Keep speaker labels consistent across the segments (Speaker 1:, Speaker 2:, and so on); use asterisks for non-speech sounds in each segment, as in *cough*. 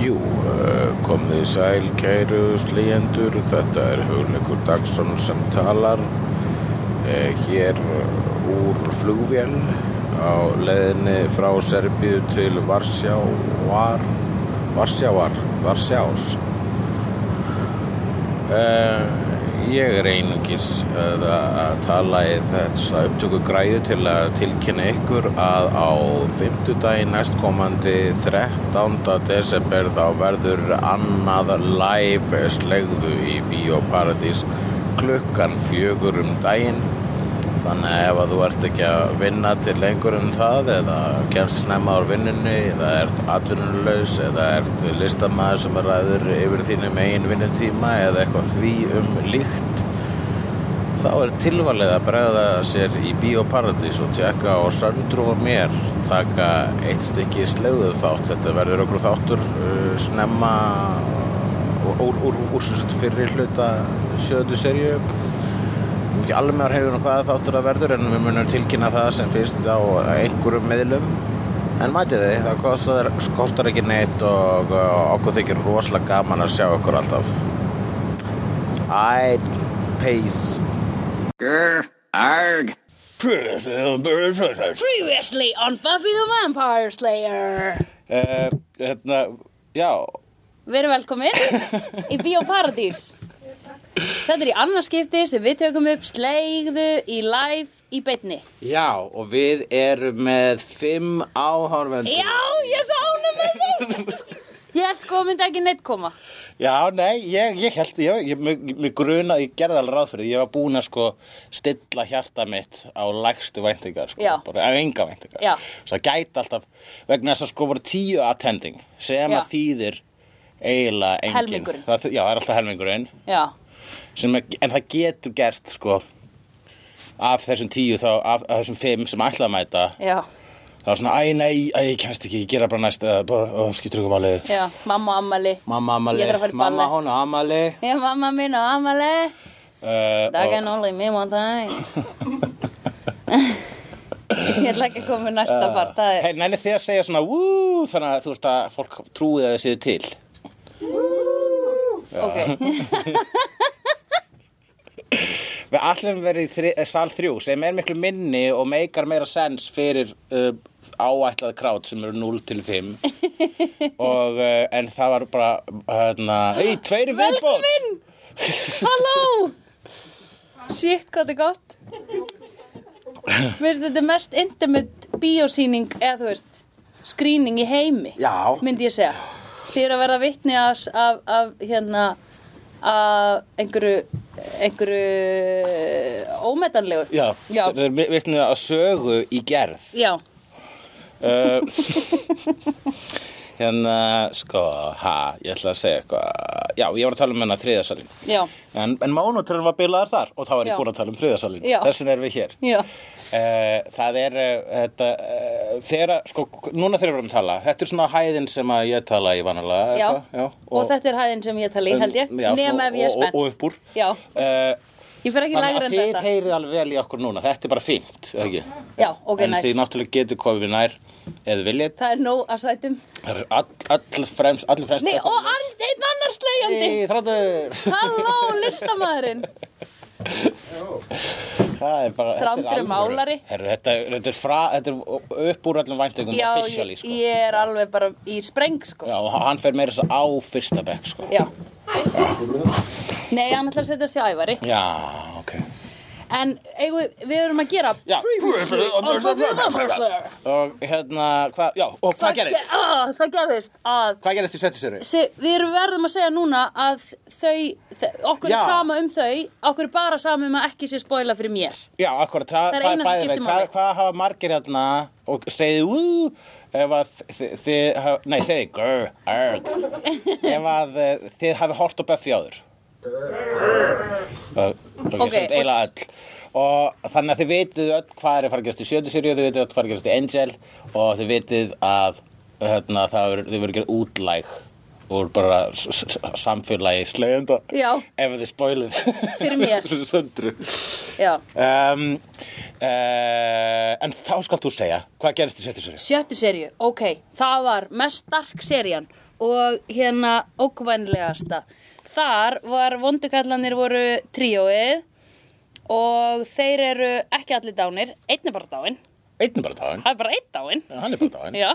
Speaker 1: Jú, eh, komið í sæl, kæru slegjendur, þetta er Hugleikur Dagsson sem talar eh, hér úr flugvél á leiðinni frá Serbíu til Varsjávar, Varsjávar, Varsjás. Eh, Ég er einungis að, að tala í þessa upptöku græju til að tilkynna ykkur að á fimmtudaginn næstkomandi 13. desember þá verður annað live slegðu í Bíóparadís klukkan fjögur um daginn þannig að ef að þú ert ekki að vinna til lengur en það eða kemst snemma úr vinnunni eða ert atvinnulegs eða ert listamaður sem ræður yfir þínum eigin vinnutíma eða eitthvað því um líkt þá er tilvalið að bregða sér í Bíóparadís og tjekka á Söndru og mér taka eitt stykki slegðu þátt þetta verður okkur þáttur uh, snemma úr, úr, úr, úr, úr fyrir hluta sjöðu serju ekki alveg með hefur hvað þáttur að verður en við munum tilkynna það sem fyrst á einhverjum miðlum en mætið þið, það kostar, kostar ekki neitt og uh, okkur þykir rosalega gaman að sjá okkur alltaf Æ, peace
Speaker 2: Grr, arg.
Speaker 3: Previously on Buffy the Vampire Slayer
Speaker 4: Eh, hérna, já,
Speaker 3: Verið velkomin í Bíóparadís Þetta er í annarskipti sem við tökum upp Sleigðu í live í beinni
Speaker 1: Já, og við erum með fimm áhorfendur
Speaker 3: Já, ég er svo ánum með þig Ég held sko að myndi ekki neitt koma
Speaker 4: já, nei, ég, ég held, ég, ég, mig, mig gruna, ég gerði alveg ráð fyrir, því. ég var búin að sko stilla hjarta mitt á lægstu væntingar, sko,
Speaker 3: Já.
Speaker 4: bara á enga væntingar.
Speaker 3: Já.
Speaker 4: Svo það gæti alltaf, vegna þess að sko voru tíu attending, sem
Speaker 3: Já.
Speaker 4: að þýðir eiginlega engin.
Speaker 3: Helmingurinn.
Speaker 4: Það, þý- já, það er alltaf helmingurinn,
Speaker 3: Já,
Speaker 4: sem, er- en það getur gerst, sko, af þessum tíu, þá, af, af þessum fimm sem ætla að mæta,
Speaker 3: já,
Speaker 4: það var svona, æ, nei, æ, ég kemst ekki, ég gera bara næst, eða bara, ó, skiptir ykkur valið.
Speaker 3: já, mamma og ammali
Speaker 4: Mamma Amali,
Speaker 3: Ég þarf að fara í
Speaker 4: mamma
Speaker 3: ballett.
Speaker 4: hún og Amali
Speaker 3: Já, mamma mín og ammali
Speaker 4: uh,
Speaker 3: That can only mean one thing Ég ætla ekki að koma með næsta part Það er
Speaker 4: Hei, nenni þið að segja svona Wú, þannig að þú veist að fólk trúið að þið séu til
Speaker 3: Ok,
Speaker 4: Við allum verið í þri, eh, sal 3 sem er miklu minni og meikar meira sens fyrir uh, áætlað krát sem eru 0 til
Speaker 3: *laughs*
Speaker 4: 5 og, uh, en það var bara hérna, Í, tveiri viðbótt
Speaker 3: velkomin Halló Shit, hvað þetta er gott Mér finnst þetta mest intimate biosýning eða þú veist skrýning í heimi
Speaker 1: Já.
Speaker 3: myndi ég segja Þið eru að verða vitni af, af, af hérna af einhverju eh, einhverju ómetanlegur
Speaker 4: Já,
Speaker 3: Já.
Speaker 4: þeir eru vitnið að sögu í gerð
Speaker 3: Já,
Speaker 4: Eh, *laughs* hérna, sko, ha, ég ætla að segja eitthvað Já, ég var að tala um hennar þriðasalinn
Speaker 3: já,
Speaker 4: En, en mánuturinn var bilaðar þar og þá var
Speaker 3: Já.
Speaker 4: ég búin að tala um þriðasalinn
Speaker 3: Já.
Speaker 4: Þessin er við hér
Speaker 3: já
Speaker 4: uh, Það er, uh, þetta, uh, þeirra, sko, núna þeirra erum að tala Þetta er svona hæðin sem að ég tala í vanalega
Speaker 3: Já.
Speaker 4: eitthvað, já
Speaker 3: og, þetta er hæðin sem ég tali, held ég,
Speaker 4: já,
Speaker 3: nema
Speaker 4: svo-
Speaker 3: ef ég er
Speaker 4: og-
Speaker 3: spennt.
Speaker 4: Og, og upp úr
Speaker 3: Já,
Speaker 4: Eh,
Speaker 3: ég fer ekki
Speaker 4: Þannig
Speaker 3: lægra
Speaker 4: að
Speaker 3: en
Speaker 4: þið
Speaker 3: þetta.
Speaker 4: heyrið alveg vel í okkur núna Þetta er bara fínt, eða ekki?
Speaker 3: Já, ok,
Speaker 4: en
Speaker 3: næs.
Speaker 4: þið náttúrulega getur komið nær eða viljið
Speaker 3: Það er nóg að sætum.
Speaker 4: Það er all, all fremst, all fremst
Speaker 3: Nei, og and, einn annar slegjandi.
Speaker 4: Nei, þráttur
Speaker 3: Halló, listamæðurinn.
Speaker 4: Það er bara
Speaker 3: Þrándur
Speaker 4: þetta er
Speaker 3: er
Speaker 4: alvöru.
Speaker 3: málari.
Speaker 4: Herru, þetta, þetta, er fra, þetta er upp úr öllum væntingum
Speaker 3: Já,
Speaker 4: officially,
Speaker 3: ég,
Speaker 4: sko.
Speaker 3: ég er alveg bara í spreng, sko.
Speaker 4: Já, og hann fer meira þess að á fyrsta bekk sko.
Speaker 3: Já. Nei, hann ætlar að setjast hjá ævari.
Speaker 4: Já, ok
Speaker 3: En eigum við, við erum að gera
Speaker 4: Já.
Speaker 3: previously on Buffy the Vampire Slayer.
Speaker 4: Og hérna, hvað, já, og hvað gerist?
Speaker 3: ge- ah, Það gerist að...
Speaker 4: Hvað gerist í setjusöru?
Speaker 3: Se, við erum verðum að segja núna að þau, þau okkur
Speaker 4: Já.
Speaker 3: er sama um þau, okkur er bara sama um að ekki sé spoila fyrir mér.
Speaker 4: Já, akkurat, það,
Speaker 3: Það er
Speaker 4: bæ-
Speaker 3: eina sem
Speaker 4: bæði
Speaker 3: skiptir
Speaker 4: við,
Speaker 3: máli.
Speaker 4: Hvað, hvað hafa margir hérna og segið, ú, ef að þi- þi- þið, hafa- nei, segið, grr,
Speaker 3: *laughs*
Speaker 4: arg, ef að eh, þið hafi hort á Buffy áður. Grr. Ok,
Speaker 3: Ok,
Speaker 4: okay sem
Speaker 3: og
Speaker 4: deila
Speaker 3: s-
Speaker 4: öll. Og þannig að þið vitið öll hvað er að fara að gerast í sjötu sérju, þið vitið öll hvað er að gerast í Angel og þið vitið að hérna, það verður- þið verður að gera útlæg úr bara s- s- samfélagi slegjenda
Speaker 3: Já.
Speaker 4: ef þið spoilið
Speaker 3: Fyrir mér.
Speaker 4: *laughs* Söndru
Speaker 3: Já.
Speaker 4: um, uh, En þá skalt þú segja hvað gerist í setjum sér
Speaker 3: Sjöttu serju, ok, það var mest stark serían og hérna ókvænlegasta. Þar var vondukallanir voru tríóið og þeir eru ekki allir dánir, einn er bara dáin,
Speaker 4: Einn er bara dáin
Speaker 3: það er bara einn dáin,
Speaker 4: Já, Hann er bara dáin
Speaker 3: já,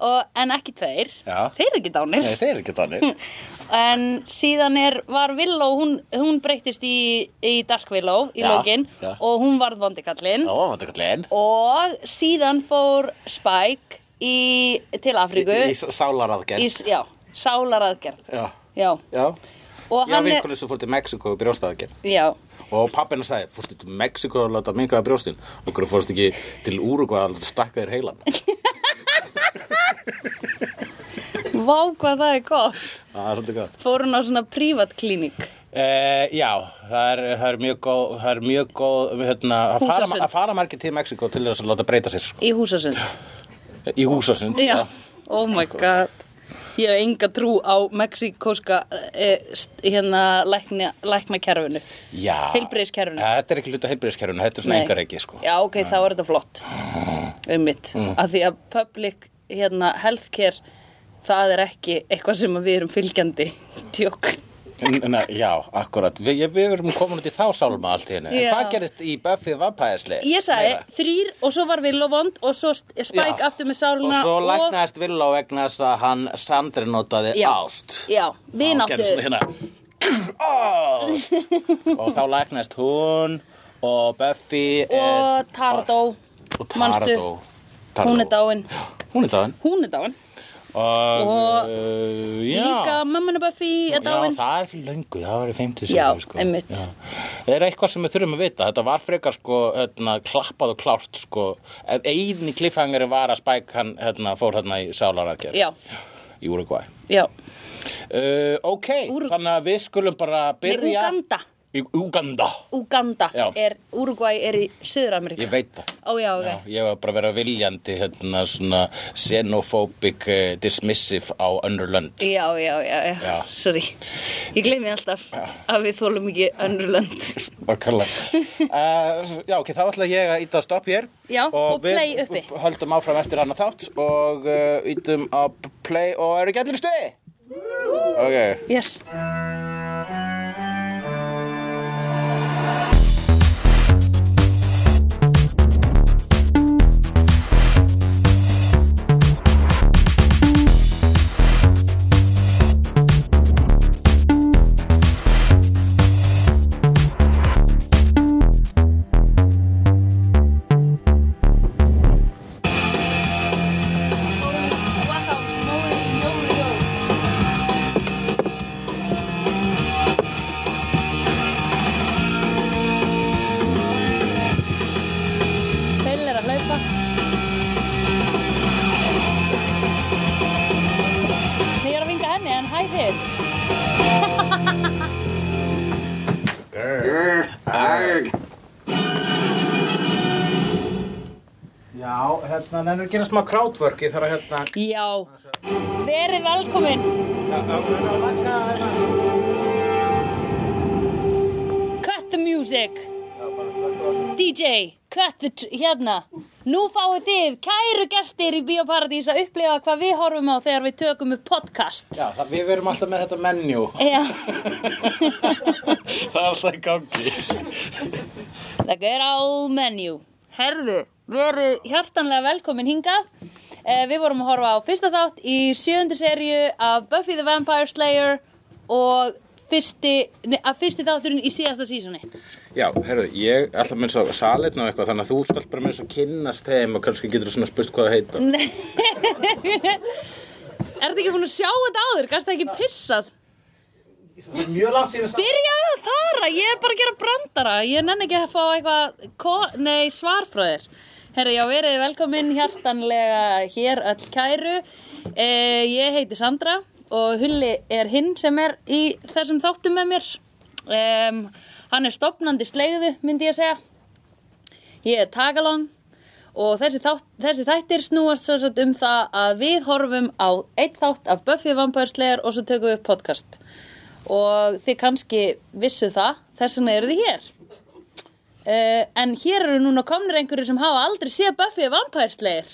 Speaker 3: og, en ekki tveir,
Speaker 4: Já.
Speaker 3: þeir eru ekki dánir.
Speaker 4: Nei, þeir eru ekki dánir
Speaker 3: *laughs* En síðan er, var Villó, hún, hún breyttist í, í Dark Villó í
Speaker 4: Já,
Speaker 3: lokin
Speaker 4: já.
Speaker 3: og hún varð vondukallin.
Speaker 4: Ó, hann er kallinn
Speaker 3: Og síðan fór Spike í, til Afríku
Speaker 4: Í sálaraðgerð
Speaker 3: í, já, sálaraðgerð
Speaker 4: Já,
Speaker 3: já,
Speaker 4: já
Speaker 3: og
Speaker 4: Já,
Speaker 3: hann er
Speaker 4: vinkonu sem fór til Mexiko og brjóstaðagerð
Speaker 3: já,
Speaker 4: Og pappina sagði, fórstu til Mexiko að láta mingaða brjóstin og hverju fórstu ekki til Úrugvað að láta stakka þér
Speaker 3: *laughs*
Speaker 4: heilan
Speaker 3: vá hvað það er gott
Speaker 4: Það er svolítið gott
Speaker 3: fór hún á svona privatklínik
Speaker 4: Eh, Já, það er, það er mjög góð, það er mjög góð hérna, að, fara,
Speaker 3: Húsasund.
Speaker 4: að fara margir til Mexiko til þess að láta breyta sér sko.
Speaker 3: í húsasund
Speaker 4: Í húsasund
Speaker 3: já, oh my god ég hef enga trú á mexikóska eh, st- hérna lækna, læknakerfinu
Speaker 4: já.
Speaker 3: Heilbrigðiskerfinu.
Speaker 4: Ja, Þetta er ekki hluta heilbrigðiskerfinu, þetta er svona
Speaker 3: Nei.
Speaker 4: engar ekki sko. Mm.
Speaker 3: já, ok, þá er þetta flott um mitt, af því að public hérna, healthcare það er ekki eitthvað sem að við erum fylgjandi *laughs* tjók
Speaker 4: N- na, já, akkurat Við, ég- við erum komin út í þá sálma allt hérna En
Speaker 3: Já.
Speaker 4: hvað gerist í Buffy vampæðisli?
Speaker 3: Ég sagði þrýr og svo var Villovond og svo st- Spike
Speaker 4: Já.
Speaker 3: aftur með sáluna
Speaker 4: Og svo læknaðist Villó vegna þess að hann Sandri notaði
Speaker 3: Já.
Speaker 4: ást
Speaker 3: Já,
Speaker 4: Og gerði
Speaker 3: vináttu
Speaker 4: svona hérna *clears throat* Ást Og þá læknaðist hún Og Buffy er-
Speaker 3: og Tardó
Speaker 4: Og
Speaker 3: manstu?
Speaker 4: Taradó
Speaker 3: Hún er dáin
Speaker 4: Hún er dáin
Speaker 3: Hún er dáin
Speaker 4: Og,
Speaker 3: Og
Speaker 4: uh, já.
Speaker 3: Líka mammanu Buffy er dáin
Speaker 4: Já, það er fyrir löngu, það var í 50
Speaker 3: Já,
Speaker 4: seríu, sko.
Speaker 3: einmitt.
Speaker 4: Já. Það er eitthvað sem við þurfum að vita Þetta var frekar sko, hérna, klappað og klárt sko. Einn í kliffhangari var að Spike hann, hérna, fór hérna í sálarækjað
Speaker 3: Já,
Speaker 4: Í Uruguay
Speaker 3: já
Speaker 4: uh, Ok,
Speaker 3: Úr-
Speaker 4: þannig að við skulum bara
Speaker 3: Nei,
Speaker 4: byrja
Speaker 3: Uganda
Speaker 4: Í Uganda
Speaker 3: Uganda
Speaker 4: Já.
Speaker 3: er, Uruguay er í Suður-Ameríka
Speaker 4: Ég veit það
Speaker 3: Ó já,
Speaker 4: Já,
Speaker 3: ok
Speaker 4: ég var bara að vera viljandi hérna, svona xenophobic uh, dismissive á önnur lönd
Speaker 3: Já, já, já, já,
Speaker 4: Já.
Speaker 3: sorry Ég gleymi alltaf að við þólum ekki önnur lönd *laughs*
Speaker 4: Okkarlega uh, Já, ok, þá ætla ég að íta að stopp hér
Speaker 3: Já, og play uppi.
Speaker 4: við höldum áfram eftir hann að þátt og uh, ítum á play og eru ekki allir í stuði? Ok
Speaker 3: Yes Bill er að hlaupa Nei, ég er að vinga henni en hæ þig
Speaker 2: Grr, arg.
Speaker 4: Já, hérna, nennir að gera smá crowdwork ég þarf að hérna
Speaker 3: Já Verið velkomin hérna. Cut the music DJ Cut the, tr- hérna Nú fáið þið, kæru gestir í Bíóparadís að upplifa hvað við horfum á þegar við tökum upp podcast
Speaker 4: Já, það, við verum alltaf með þetta menu *laughs*
Speaker 3: Já,
Speaker 4: Það er alltaf í gangi
Speaker 3: það er á menu Herðu, verið hjartanlega velkomin hingað eh, Við vorum að horfa á fyrsta þátt í sjöndu serju af Buffy the Vampire Slayer og fyrsti, nei, að fyrsti þátturinn í síðasta sísoni
Speaker 4: Já, herruðu, ég ætla að minnst á salin og eitthvað þannig að þú skalt bara minnst að kynnast þeim og kannski getur svona spurt hvað það heita
Speaker 3: Nei Ertu ekki búin að sjá þetta áður? Gasta ekki pissað?
Speaker 4: Mjög langt síðan
Speaker 3: Byrjaðu að fara, ég er bara að gera brandara Ég nenni ekki að fá eitthvað ko- Nei, svar frá þér Herra, já, verið velkomin hjartanlega hér öll kæru eh, Ég heiti Sandra og Hulli er hinn sem er í þessum þáttum með mér um, Hann er stopnandi slegðu, myndi ég að segja Ég er Tagalon og þessi, þátt, þessi þættir snúast sem sagt um það að við horfum á eitt þátt af Buffy Vampire Slayer og svo tökum við upp podcast og þið kannski vissu það þess vegna eru þið hér uh, en hér eru núna komnir einhverju sem hafa aldrei séð Buffy Vampire Slayer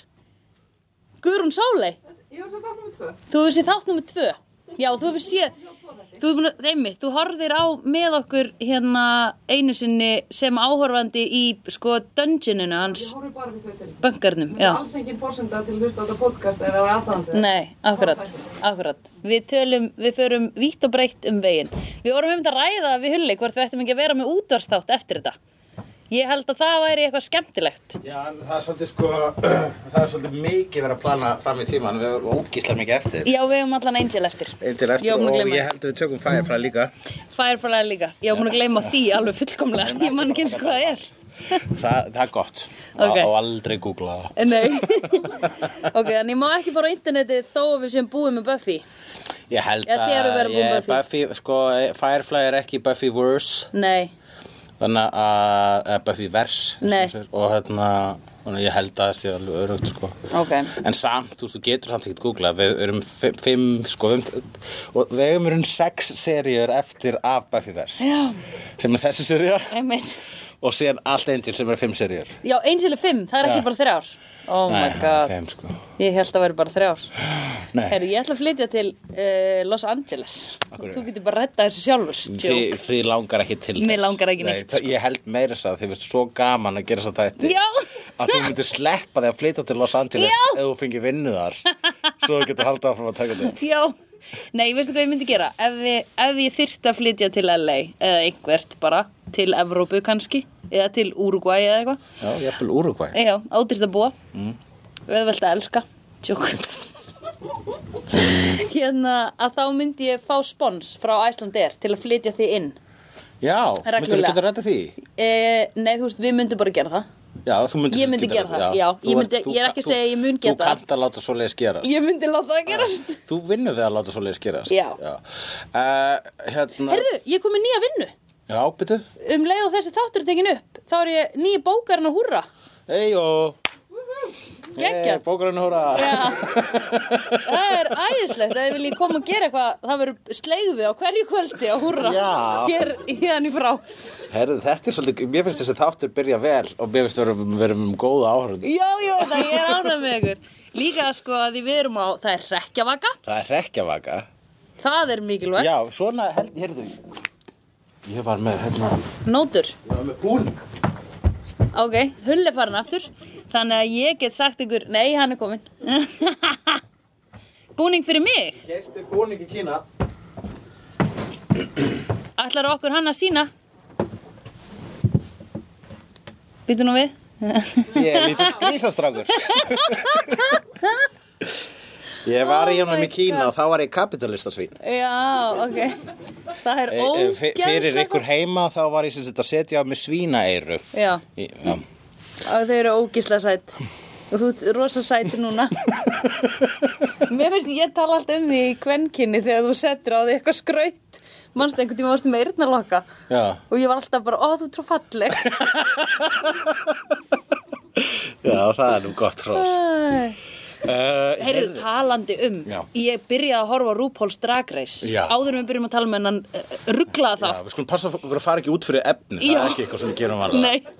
Speaker 3: Guðrún Sólei
Speaker 5: Ég var svo gott nummer tvö.
Speaker 3: Þú hefur séð þátt nummer tvö Já, þú hefur séð Þú hefur búin að, einmitt, þú horfðir á með okkur hérna einu sinni sem áhorfandi í sko dungeoninu hans
Speaker 5: Ég horfði bara við þau til.
Speaker 3: bankarnum
Speaker 5: Það
Speaker 3: Já,
Speaker 5: er alls engin fórsenda til að hlusta á þetta podcast eða að vera aðdæðandi.
Speaker 3: nei, akkurat, akkurat Við tölum, við förum vítt og breytt um veginn Við vorum um þetta að ræða við hulli hvort við ættum ekki að vera með útvarsþátt eftir þetta Ég held að það væri eitthvað skemmtilegt
Speaker 4: Já, en það er svolítið sko, *clears throat* það er svolítið mikið verið að plana fram í tíman, við erum ógíslega mikið eftir.
Speaker 3: Já, við höfum allan Angel eftir
Speaker 4: Eftir eftir
Speaker 3: Já, búin að
Speaker 4: og
Speaker 3: gleyma
Speaker 4: ég held að við tökum fæði frá líka.
Speaker 3: Firefly líka, ég hef búin að gleyma því alveg fullkomlega Ég man ekki eins og hvað það er
Speaker 4: Það, það er gott.
Speaker 3: Ok.
Speaker 4: Og aldrei googla það.
Speaker 3: Nei *laughs* Ok, en ég má ekki fara á interneti þó að við sem búið með Buffy
Speaker 4: Ég held
Speaker 3: Já, þið eru verið búin
Speaker 4: ég-
Speaker 3: Buffy.
Speaker 4: Buffy, sko, Firefly er ekki Buffy verse,
Speaker 3: Nei,
Speaker 4: þannig að eða Buffy verse. eins og
Speaker 3: Nei.
Speaker 4: það segir. Og hérna, þannig að ég held að það sé alveg örugt, sko.
Speaker 3: ok
Speaker 4: En samt, þú veist, þú getur samt ekkert googla, við erum fimm, fimm sko, við, og við erum erum sex seríur eftir af Buffy verse,
Speaker 3: Já,
Speaker 4: sem er þessi seríur.
Speaker 3: einmitt
Speaker 4: og síðan allt Angel sem er fimm seríur
Speaker 3: Já, einsilu fimm, það er ekki
Speaker 4: Já.
Speaker 3: bara þrjár Oh my god,
Speaker 4: fimm, sko.
Speaker 3: ég held að væri bara þrjár
Speaker 4: Nei.
Speaker 3: Herru, ég ætla að flytja til uh, Los Angeles
Speaker 4: Akkurri.
Speaker 3: Þú getur bara að redda þessu sjálfur
Speaker 4: Þi,
Speaker 3: Joke.
Speaker 4: þið langar ekki til
Speaker 3: Mig
Speaker 4: þess.
Speaker 3: langar ekki
Speaker 4: Nei,
Speaker 3: neitt,
Speaker 4: það- ég held meira þess að þið veist svo gaman að gera þess að þetta
Speaker 3: Já.
Speaker 4: að þú myndir sleppa þig að flytja til Los Angeles
Speaker 3: Já.
Speaker 4: ef þú fengir vinnu þar svo þú getur haldið áfram að taka þetta upp.
Speaker 3: *laughs* Já Nei, veistu hvað ég myndi gera? Ef, við, ef ég þyrfti að flytja til LA eða einhvert bara, til Evrópu kannski eða til Uruguay eða eitthvað Eh,
Speaker 4: já, ég er búin úrugvæ
Speaker 3: Já, ádýrt að búa
Speaker 4: Mm.
Speaker 3: auðvelt að elska Tjók
Speaker 4: *laughs*
Speaker 3: Hérna að þá myndi ég fá spons frá Icelandair til að flytja þig inn
Speaker 4: já,
Speaker 3: Reglulega.
Speaker 4: myndir þú getur rætta því
Speaker 3: e, Nei, þú veist, við myndum bara gera það
Speaker 4: já, þú myndir
Speaker 3: Ég myndi gera það, já. Ég myndi- ég er ekki að segja að ég mun geta
Speaker 4: þú
Speaker 3: það.
Speaker 4: kannt að láta svo leiðis gera
Speaker 3: Ég myndi láta það gerast
Speaker 4: þú vinnur við að láta svo leiðis gera
Speaker 3: Já.
Speaker 4: hérna,
Speaker 3: Herðu, ég kom með nýja vinnu
Speaker 4: já, byttu
Speaker 3: Um leið og þessi þáttur er tekin upp Þá er ég nýja bókarinn að húrra
Speaker 4: Eyjó
Speaker 3: Geggjað.
Speaker 4: Bókurinn hóra *laughs*
Speaker 3: Já. Það er æðislegt að þið viljið koma og gera eitthvað Það verður sleigði á hverju kvöldi að húrra
Speaker 4: Já.
Speaker 3: Hér í í frá
Speaker 4: Herðu, þetta er svolítið, mér finnst þess að þáttur byrja vel og mér finnst við erum, við erum um góða áhrund
Speaker 3: Já, ég veit það, ég er ánægð með ykkur. Líka sko að því við erum á, það er rekkjavaka,
Speaker 4: Það er rekkjavaka
Speaker 3: það er mikilvægt.
Speaker 4: Já, svona, hel- heyrðu Ég var með, hérna,
Speaker 3: Nótur,
Speaker 4: ég var með búning
Speaker 3: ok, hull er farin aftur, þannig að ég get sagt ykkur, nei, hann er komin. *laughs* Búning fyrir mig,
Speaker 4: Kefti búning í Kína
Speaker 3: ætlar okkur hann að sína? Býtu nú við?
Speaker 4: Ég er lítill grísastrákur Ég var í
Speaker 3: Oh
Speaker 4: honum
Speaker 3: my
Speaker 4: í Kína
Speaker 3: God.
Speaker 4: og þá var ég kapitalistasvín
Speaker 3: Já, ok, það er
Speaker 4: e, e, fe-
Speaker 3: ógeðslega.
Speaker 4: Fyrir ykkur heima þá var ég sem þetta að setja á mig svínaeiru
Speaker 3: Já,
Speaker 4: Í- Já
Speaker 3: og þau eru ógeðslega sætt. Og Þú ert rosa sæti núna. Mér finnst ég tala alltaf um því í kvenkinni þegar þú settur á því eitthvað skraut. Manstu einhvern tíma varstu með eyrnalokka
Speaker 4: Já
Speaker 3: og ég var alltaf bara, ó þú ert svo falleg.
Speaker 4: Já, það er nú gott hrós. Uh,
Speaker 3: Eh, Heyrðu, talandi um,
Speaker 4: Já.
Speaker 3: ég byrjaði að horfa á RuPaul's Drag Race.
Speaker 4: Já.
Speaker 3: Áður en við byrjum að tala um með hennan rugglaða
Speaker 4: Já,
Speaker 3: þátt.
Speaker 4: við skulum passa okkur að fara ekki út fyrir efni, það
Speaker 3: Já.
Speaker 4: er ekki eitthvað sem við gerum alveg.
Speaker 3: Nei,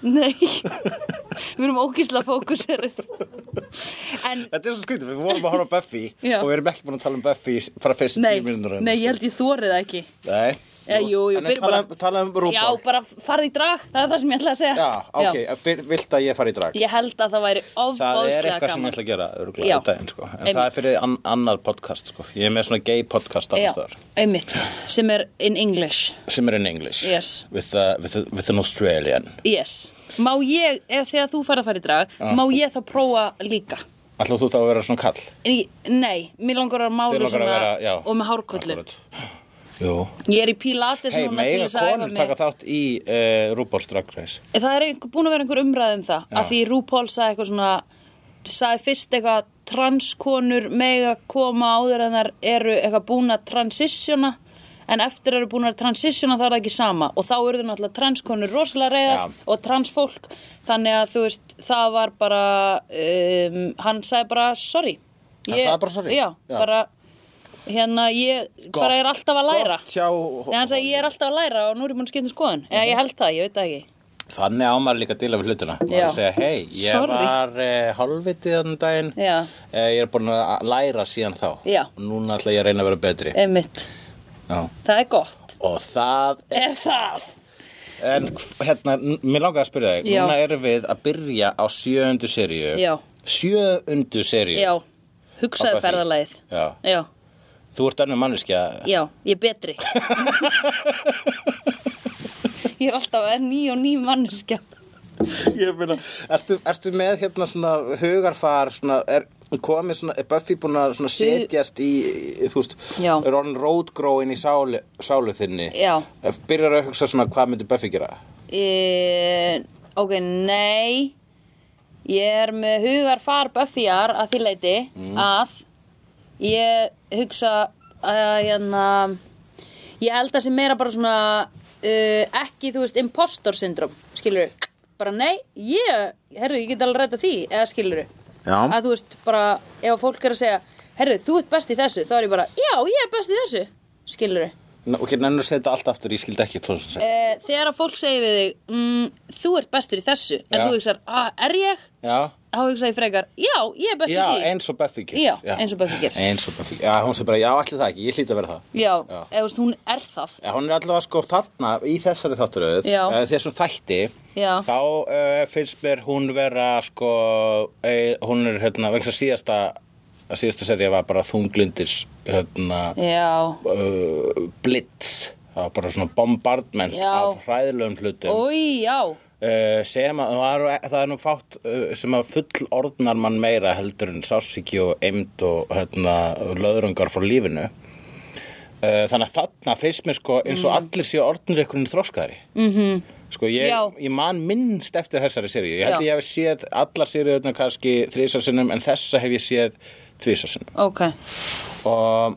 Speaker 3: nei, við erum ógísla fókuseruð. En,
Speaker 4: Þetta er svo skrítið, við vorum að horfa á Buffy
Speaker 3: Já.
Speaker 4: og við erum ekki búin að tala um Buffy frá fyrstu
Speaker 3: nei,
Speaker 4: tíu minnur.
Speaker 3: nei, ég held ég þórið það ekki.
Speaker 4: Nei.
Speaker 3: Eh, jú, jú,
Speaker 4: En
Speaker 3: byrjum
Speaker 4: tala,
Speaker 3: bara-
Speaker 4: tala um Rúból.
Speaker 3: Já, bara farði í drag, það er það sem ég ætlaði að segja.
Speaker 4: Já, ok, eh, fyr, vilt að ég fari í drag?
Speaker 3: Ég held að það
Speaker 4: það
Speaker 3: væri
Speaker 4: er
Speaker 3: ofbóðslega
Speaker 4: eitthvað sem ég
Speaker 3: gaman.
Speaker 4: ætla að gera,
Speaker 3: Já.
Speaker 4: örgulega, í daginn, sko. En það
Speaker 3: Einmitt.
Speaker 4: er fyrir an, annað podcast, sko. Ég er með svona gay podcast
Speaker 3: Já,
Speaker 4: alls þar,
Speaker 3: einmitt, sem er in English
Speaker 4: sem er in English.
Speaker 3: Yes.
Speaker 4: With, a, with, a, with an Australian.
Speaker 3: Yes Má ég, ef þegar þú fara að fara í drag Má ég þá prófa líka
Speaker 4: Ætlaðu þú þá að vera svona kall?
Speaker 3: En ég- Nei, mér langar að
Speaker 4: Þig
Speaker 3: málu
Speaker 4: langar að
Speaker 3: svona
Speaker 4: vera- já,
Speaker 3: Og með hárkollu
Speaker 4: akkurat. Jú.
Speaker 3: Ég er í Pilates
Speaker 4: Hei,
Speaker 3: núna til
Speaker 4: meira
Speaker 3: þess að æfa
Speaker 4: konur
Speaker 3: mig
Speaker 4: taka þátt í uh, RuPaul's Drag Race
Speaker 3: Það er einhver, búin að vera einhver umræð um það
Speaker 4: Já.
Speaker 3: Að því RuPaul sagði eitthvað svona Sagði fyrst eitthvað Transkonur mega koma áður en þar eru eitthvað búin að transitiona en eftir eru búin að transitiona þá er það ekki sama og þá eru náttúrulega transkonur rosalega reyðar
Speaker 4: Já.
Speaker 3: og transfólk þannig að þú veist, það var bara um, hann sagði bara sorry
Speaker 4: Hann sagði bara sorry?
Speaker 3: Já,
Speaker 4: Já.
Speaker 3: bara hérna, ég bara er alltaf að læra
Speaker 4: Gott hjá-
Speaker 3: Nei, hann sagði, ég er alltaf að læra og nú er ég búin að skipta um skoðun eða ég held það, ég veit það ekki
Speaker 4: Þannig á maður líka að dila við hlutuna
Speaker 3: Já.
Speaker 4: maður að segja, hei, ég
Speaker 3: Sorry.
Speaker 4: var eh, hálfvitið þannig daginn
Speaker 3: Já.
Speaker 4: eh, ég er búin að læra síðan þá
Speaker 3: Já. Eh.
Speaker 4: og núna ætla ég að reyna að vera betri
Speaker 3: einmitt,
Speaker 4: Já.
Speaker 3: það er gott
Speaker 4: og það er
Speaker 3: er það
Speaker 4: en hérna, n- mér langar að spyrja þig
Speaker 3: Já.
Speaker 4: núna erum við að byrja á sjöundu seríu
Speaker 3: Já.
Speaker 4: sjöundu seríu
Speaker 3: Já,
Speaker 4: Ákvað
Speaker 3: hugsaðu
Speaker 4: því.
Speaker 3: ferðalagið
Speaker 4: Já.
Speaker 3: Já,
Speaker 4: þú ert annum manneskja
Speaker 3: já, ég er betri
Speaker 4: *laughs*
Speaker 3: Ég er alltaf að ný og ný manneskja
Speaker 4: *laughs* Ég meina, ertu, ertu með hérna svona hugarfar, svona, er komið svona, er Buffy búin að svona setjast í, þú veist,
Speaker 3: Já.
Speaker 4: er orðin rótgróin í sálu, sálu þinni?
Speaker 3: Já.
Speaker 4: Byrjar að hugsa svona, hvað myndi Buffy gera?
Speaker 3: e, Ok, nei Ég er með hugar far Buffyar að því leiti að ég hugsa að hérna ég held að sem meira bara svona uh, ekki, þú veist, impostor syndrom skilur bara nei, ég, herru, ég get alveg rætta því eða skilur
Speaker 4: Já.
Speaker 3: að þú veist, bara ef að fólk er að segja herru, þú ert best í þessu, þá er ég bara já, ég er best í þessu, skilur
Speaker 4: Ná, ok, nennur að segja þetta allt aftur, ég skildi ekki 2006.
Speaker 3: Eh, þegar að fólk segir við þig mm, þú ert bestur í þessu en
Speaker 4: Já.
Speaker 3: þú hugsar, ah, er ég?
Speaker 4: Já.
Speaker 3: þá hugsa ég frekar, já, ég er best
Speaker 4: Já,
Speaker 3: í því
Speaker 4: eins og Buffy gerir.
Speaker 3: Já, eins og Buffy gerir.
Speaker 4: Eins og Buffy gerir. Já, hún sem bara, já, allir það ekki, ég hlýt að vera það.
Speaker 3: já,
Speaker 4: Já.
Speaker 3: eða þú veist, hún er það
Speaker 4: Já, hún er allavega sko þarna í þessari þátturöð,
Speaker 3: Já.
Speaker 4: eh, þessum þætti,
Speaker 3: Já.
Speaker 4: þá uh, finnst mér hún vera sko, eh, hún er hérna, vegna þess að síðasta, að síðasta serið var bara þunglindis, hérna,
Speaker 3: já,
Speaker 4: uh, blitz, það var bara svona bombardment
Speaker 3: Já.
Speaker 4: af hræðilegum hlutum.
Speaker 3: oi, já
Speaker 4: Uh, sem að það er, það er nú fátt uh, sem að full orðnar mann meira heldur en sársiki og eimd og hérna, löðrungar frá lífinu uh, þannig að þarna finnst mér sko eins og
Speaker 3: Mm.
Speaker 4: allir séu orðnir einhvern þroskaðari mm -hmm. sko ég,
Speaker 3: Mhm. Já.
Speaker 4: ég man minnst eftir þessari seríu ég held
Speaker 3: Já.
Speaker 4: að ég hef séð allar seríuðna kannski þrísarsinnum en þessa hef ég séð þvísarsinnum
Speaker 3: ok,
Speaker 4: og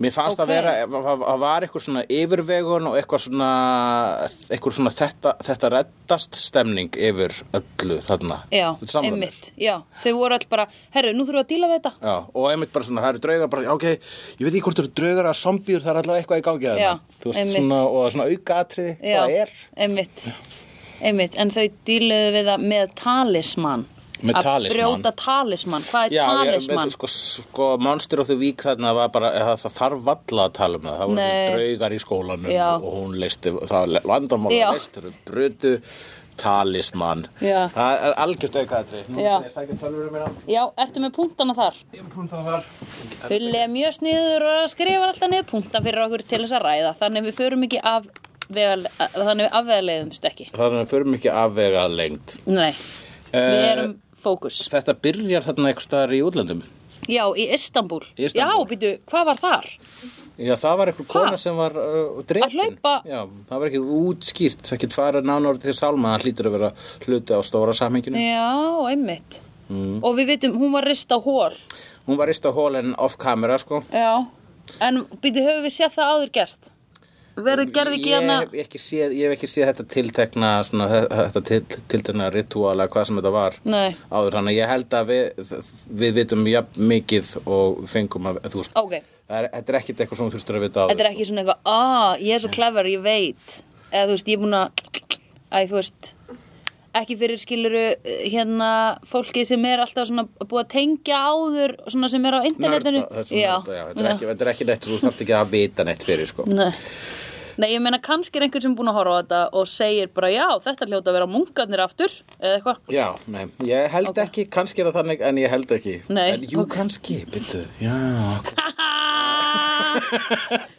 Speaker 4: Mér fannst að
Speaker 3: Ókei.
Speaker 4: vera, það það var eitthvað svona yfirvegun og eitthvað svona, eitthvað svona þetta, þetta reddast stemning yfir öllu þarna.
Speaker 3: já,
Speaker 4: Þetta samræður.
Speaker 3: einmitt já, þau voru all bara, herru, nú þurfum við að díla við þetta
Speaker 4: Já, og einmitt bara svona, það eru draugar bara, já, ok, ég veit ekki hvort það eru draugar að zombjur, það er allavega eitthvað í gangi að
Speaker 3: Já,
Speaker 4: þarna. Þú veist,
Speaker 3: einmitt.
Speaker 4: svona, og svona aukaatriði,
Speaker 3: já,
Speaker 4: hvað það er
Speaker 3: einmitt einmitt, en þau díluðu við það með talisman
Speaker 4: Með
Speaker 3: að
Speaker 4: talisman.
Speaker 3: brjóta talisman, hvað er
Speaker 4: Já, ég,
Speaker 3: talisman?
Speaker 4: með, sko, sko, Monster of the Week þarna var bara, það, það þarf valla að tala um það, það voru
Speaker 3: Nei.
Speaker 4: draugar í skólanum
Speaker 3: Já.
Speaker 4: og hún leisti, það var vandamál
Speaker 3: Já.
Speaker 4: og leistur, brutu, talismann,
Speaker 3: Já.
Speaker 4: það er algjört aukaðatri, nú
Speaker 3: Já.
Speaker 4: er sækja um hérna. tölvurum minna,
Speaker 3: Já, ertu með punktana þar? Ég er með punktana þar. Hulli er mjög sniður og skrifar alltaf niður punkta fyrir okkur til þess að ræða. Þannig við förum ekki af vegal, þannig við afvegaleiðumst ekki.
Speaker 4: þannig að förum ekki afvega lengt.
Speaker 3: Nei, við
Speaker 4: Eh,
Speaker 3: erum fókus.
Speaker 4: Þetta byrjar þarna einhvers staðar í útlöndum.
Speaker 3: Já, í Istanbul.
Speaker 4: Istanbúl.
Speaker 3: Já, býtu, hvað var þar?
Speaker 4: Já, það var einhver
Speaker 3: Ha?
Speaker 4: kona sem var uh, drefin.
Speaker 3: hlaupa-
Speaker 4: Já, það var ekki útskýrt, það ekki tvara nánorð til sálma, það hlýtur að vera hluti á stóra samhenginu.
Speaker 3: Já, einmitt.
Speaker 4: Mm.
Speaker 3: Og við vitum, hún var rist á hól.
Speaker 4: Hún var rist á hólen off camera, sko.
Speaker 3: Já. En býtu, höfum við séð það áður gert? Verður gerði ekki hérna?
Speaker 4: ég,
Speaker 3: hana...
Speaker 4: hef ekki séð, ég hef ekki séð þetta tiltekna svona, þe- þetta til, tiltekna rituala hvað sem þetta var
Speaker 3: Nei.
Speaker 4: áður þannig að ég held að við, við vitum jafn mikið og fengum að þú veist
Speaker 3: Ókei.
Speaker 4: það er, þetta er ekkit eitthvað sem þú þurftur að vita áður
Speaker 3: Þetta er ekki svona eitthvað, ah, ég er svo clever, ég veit eða þú veist, ég er búin að æ, þú veist ekki fyrir skiluru hérna fólki sem er alltaf svona búið að tengja áður svona sem er á internetinu
Speaker 4: Nörda, þessum nörda, já, þetta, er ekki,
Speaker 3: já.
Speaker 4: þetta er ekki neitt þú þarft ekki að vita neitt fyrir sko.
Speaker 3: Nei. Nei, ég meina kannski er einhver sem er búin að horfa á þetta og segir bara, já, þetta hljóta að vera munkarnir aftur, eða eitthvað *laughs*
Speaker 4: já, nei, ég held
Speaker 3: Ókei.
Speaker 4: ekki kannski er það þannig en ég held ekki
Speaker 3: Nei,
Speaker 4: en jú
Speaker 3: ókei.
Speaker 4: kannski, byrju, já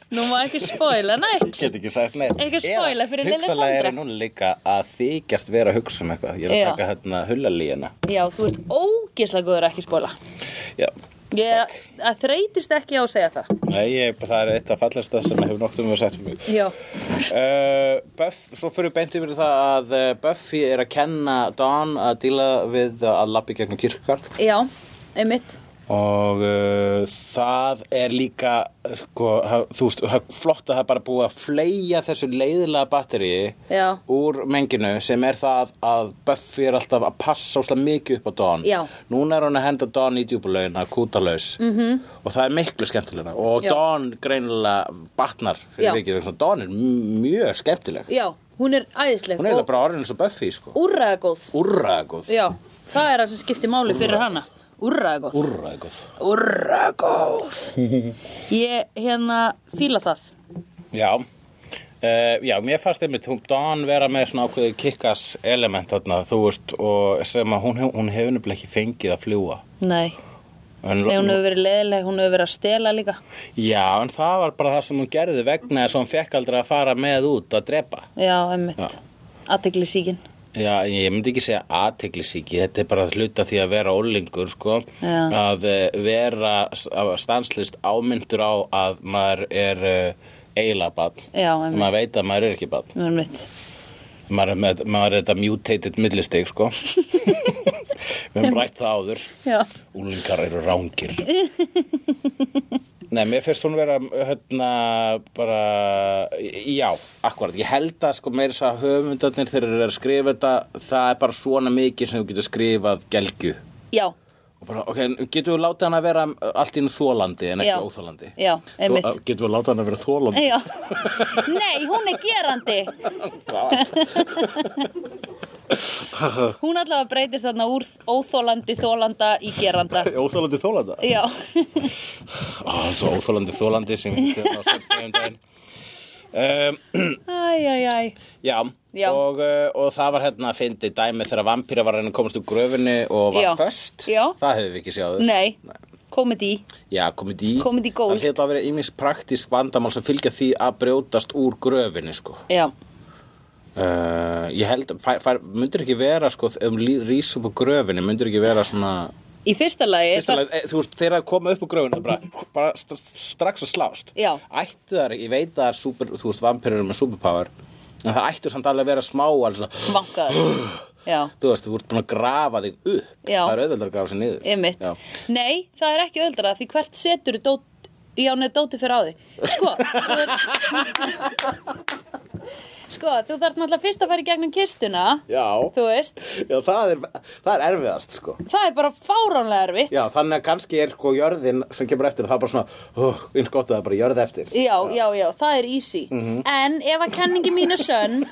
Speaker 3: Nú má ekki spoila, neitt
Speaker 4: get ekki sagt neitt
Speaker 3: Ekki spoila fyrir Lilju
Speaker 4: hugsalega
Speaker 3: Sandra.
Speaker 4: er hún líka að þykjast vera að hugsa um eitthvað ég er
Speaker 3: Já.
Speaker 4: að taka hérna hullalíina
Speaker 3: Já, þú ert ógislega góður að ekki spoila
Speaker 4: Já,
Speaker 3: Ég að þreytist ekki á að segja það
Speaker 4: nei, ég, það er eitt af fallast það sem hefur nokt um að sagt fyrir mig.
Speaker 3: Já,
Speaker 4: Uh, Buff, svo fyrir beint yfir í það að uh, Buffy er að kenna Dawn að díla við að lappi gegnum kirkard
Speaker 3: já, einmitt
Speaker 4: og uh, það er líka sko, ha- þú veist, það er flott að það er bara búið að fleia þessu leiðilega batteríi
Speaker 3: Já.
Speaker 4: úr menginu sem er það að Buffy er alltaf að passa óslega mikið upp á Dawn
Speaker 3: Já.
Speaker 4: núna er hún að henda Dawn í djúbulauðina kútalaus mm -hmm. og það er miklu skemmtilega og
Speaker 3: Mhm. Já.
Speaker 4: Dawn greinilega batnar
Speaker 3: Já.
Speaker 4: fyrir vikið vegna þess að Dawn er m- mjög skemmtileg
Speaker 3: Já, hún er æðisleg
Speaker 4: hún er eiginlega
Speaker 3: og
Speaker 4: bara orðin eins og Buffy sko.
Speaker 3: úrraðagóð.
Speaker 4: úrraðgóð
Speaker 3: Já, það er það sem skiptir máli fyrir hana. Úrraðagóð.
Speaker 4: úrraðgóð
Speaker 3: Úrraðagóð.
Speaker 4: *laughs*
Speaker 3: Ég, hérna, fíla það.
Speaker 4: Já, uh, já mér fannst einmitt hún Dawn vera með svona ákveði kikkas element þarna, þú veist, og sem að hún, hún hefur nefnilega ekki fengið að fljúa.
Speaker 3: Nei,
Speaker 4: En,
Speaker 3: Nei, hún hefur verið leðileg, hún hefur verið að stela líka.
Speaker 4: Já, en það var bara það sem hún gerði vegna þess að hún fekk aldrei að fara með út að drepa.
Speaker 3: Já, emmitt.
Speaker 4: Já.
Speaker 3: Aðtegli síkin.
Speaker 4: Já, ég myndi ekki segja aðteglisíki, þetta er bara hluta því að vera ólingur, sko,
Speaker 3: Já.
Speaker 4: að eh, vera að stanslist ámyndur á að maður er uh, eiginlega barn,
Speaker 3: Já, einmitt.
Speaker 4: maður veit að maður er ekki barn.
Speaker 3: Emmitt.
Speaker 4: maður, er með, maður er þetta mutated millistig sko við höfum rætt það áður
Speaker 3: Já.
Speaker 4: úlingar eru rángir Nei, mér finnst hún vera hérna bara já, akkurat, ég held að sko meira þess að höfundarnir þegar þeir eru að skrifa þetta það er bara svona mikið sem þú getur skrifað gelgju
Speaker 3: Já,
Speaker 4: og bara, ok, en getum við látið hann að vera allt í einu þólandi en ekki
Speaker 3: Já.
Speaker 4: óþólandi
Speaker 3: Já, einmitt.
Speaker 4: Þó- getum við látið hann að vera þólandi *laughs*
Speaker 3: já. Nei, hún er gerandi. *laughs* Hún allavega breytist þarna úr óþólandi þólanda í geranda.
Speaker 4: óþólandi þólanda *laughs*
Speaker 3: Já,
Speaker 4: Ó, það er Ah, svo óþólandi þólandi sem við hittum á stefnum daginn. Um,
Speaker 3: æj, æj, æj.
Speaker 4: já,
Speaker 3: Já.
Speaker 4: Og, uh, og það var hérna að fyndi dæmi þegar vampýra var að reyna að komast úr gröfinni og var
Speaker 3: Já.
Speaker 4: föst.
Speaker 3: Já.
Speaker 4: Það hefur við ekki séð áður.
Speaker 3: Nei, komedi.
Speaker 4: Já, komið í.
Speaker 3: Komið í gól.
Speaker 4: Það hljóta að vera ímis praktísk vandamál sem fylgja því að brjótast úr gröfinni, sko.
Speaker 3: Já,
Speaker 4: Uh, ég held, fær, fær, myndir ekki vera, sko, um rís upp úr gröfinni, myndir ekki vera svona...
Speaker 3: í fyrsta lagi er
Speaker 4: Fyrsta
Speaker 3: það-
Speaker 4: leið, e, þú veist, þeir að koma upp úr gröfuna bara, bara st strax að slást
Speaker 3: Já.
Speaker 4: ættu þar, ég veit að það er super, þú veist, vampirur með superpower en það ættu samt alveg að vera smá alveg, svona,
Speaker 3: vankaður. Já,
Speaker 4: þú veist, þú ert búin að grafa þig upp
Speaker 3: Já.
Speaker 4: það er auðveldar að grafa sig niður
Speaker 3: ymmit.
Speaker 4: Já.
Speaker 3: Nei, það er ekki öldra því hvert setur dót, já, neð dóti fyrir á því.
Speaker 4: *laughs*
Speaker 3: Sko, þú *laughs* Sko, þú þarf náttúrulega fyrst að fara í gegnum kistuna,
Speaker 4: Já.
Speaker 3: þú veist.
Speaker 4: Já, það er, það er erfiðast, sko
Speaker 3: Það er bara fáránlega erfitt.
Speaker 4: Já, þannig að kannski er sko jörðin sem kemur eftir, það er bara svona, oh, eins gott að það er bara jörð eftir
Speaker 3: Já, já, já, það er easy
Speaker 4: Mhm.
Speaker 3: En ef að kenningi mín er sönn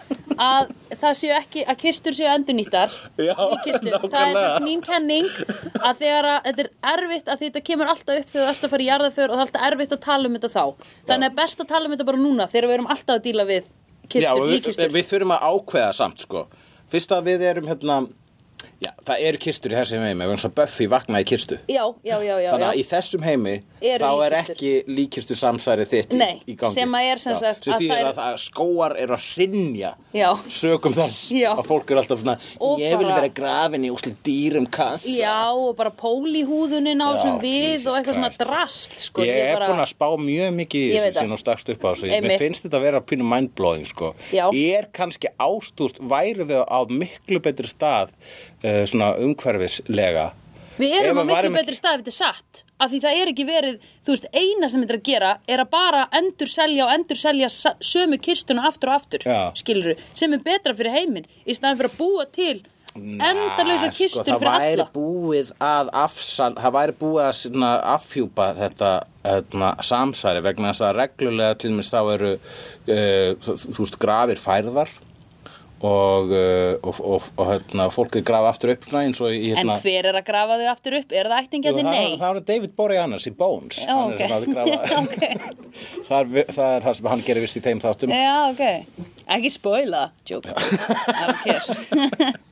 Speaker 3: að það séu ekki, að kistur séu endurnýttar
Speaker 4: Já,
Speaker 3: í kistur, það er
Speaker 4: nákvæmlega.
Speaker 3: sérst mín kenning að þegar að þetta er erfitt að þetta kemur alltaf upp þegar þú ert að fara í jarðaför og það er alltaf erfitt að tala um þetta þá Þannig er best að tala um þetta bara núna þegar við erum alltaf að díla við
Speaker 4: Já,
Speaker 3: kistur,
Speaker 4: og
Speaker 3: í
Speaker 4: við,
Speaker 3: kistur
Speaker 4: við þurfum að ákveða samt sko. Fyrst að við erum hérna Já, það eru kistur í þessum heimi vegna svo Buffy vaknaði í kistu
Speaker 3: Já, já, já, já,
Speaker 4: Þannig
Speaker 3: já.
Speaker 4: að í þessum heimi
Speaker 3: Eru
Speaker 4: þá er
Speaker 3: líkkistur.
Speaker 4: ekki líkistu samsæri þitt í-
Speaker 3: Nei,
Speaker 4: í gangi.
Speaker 3: sem að er sem
Speaker 4: Já,
Speaker 3: sagt
Speaker 4: sem
Speaker 3: að
Speaker 4: að,
Speaker 3: þær-
Speaker 4: að, það, skóar eru að hrinja
Speaker 3: Já.
Speaker 4: sögum þess
Speaker 3: Já.
Speaker 4: að fólk eru alltaf svona
Speaker 3: Og
Speaker 4: ég vil
Speaker 3: bara-
Speaker 4: vera grafin í úsli dýrum kassa.
Speaker 3: Já, og bara pól í húðunin á
Speaker 4: Já,
Speaker 3: sem við
Speaker 4: Jesus
Speaker 3: og eitthvað svona
Speaker 4: Christ.
Speaker 3: drast sko,
Speaker 4: ég er
Speaker 3: bara-
Speaker 4: búin að spá mjög mikið í
Speaker 3: Ég
Speaker 4: þessu
Speaker 3: veit það.
Speaker 4: sem hún stakst upp á þessu. Mér
Speaker 3: Einmitt.
Speaker 4: finnst þetta að vera pínu mindblowing, sko.
Speaker 3: Já.
Speaker 4: Er kannski ástúst, væri við á miklu betri stað uh, svona umhverfislega.
Speaker 3: Við
Speaker 4: Ef
Speaker 3: erum á
Speaker 4: að
Speaker 3: miklu
Speaker 4: værum ekki-
Speaker 3: betri stað ef þetta er satt af því það er ekki verið, þú veist, eina sem þetta er að gera er að bara endur selja og endur selja sömu kistuna aftur og aftur
Speaker 4: Já.
Speaker 3: skilur sem er betra fyrir heiminn í staðan fyrir að búa til endalösa
Speaker 4: Nei,
Speaker 3: kistur
Speaker 4: sko,
Speaker 3: fyrir alla
Speaker 4: Það væri búið að afsal, það væri búið að svona, afhjúpa þetta hérna, samsæri vegna þess að reglulega til mér þá eru uh, þú þú veist grafir færðar og, uh, og, og, og hérna, fólk er grafið aftur upp svona, eins og í
Speaker 3: En
Speaker 4: hérna,
Speaker 3: hver er að grafa þau aftur upp? Er það
Speaker 4: Jú,
Speaker 3: ættingjandi?
Speaker 4: það,
Speaker 3: Nei
Speaker 4: það var David Boreanaz í Bones
Speaker 3: Já,
Speaker 4: hann
Speaker 3: *laughs* ok.
Speaker 4: er svona að grafa *laughs* það, er, vi- það er það sem hann gerir vist í þeim þáttum
Speaker 3: Já, ok Ekki spoila,
Speaker 4: *laughs*
Speaker 3: joke I don't care. *laughs*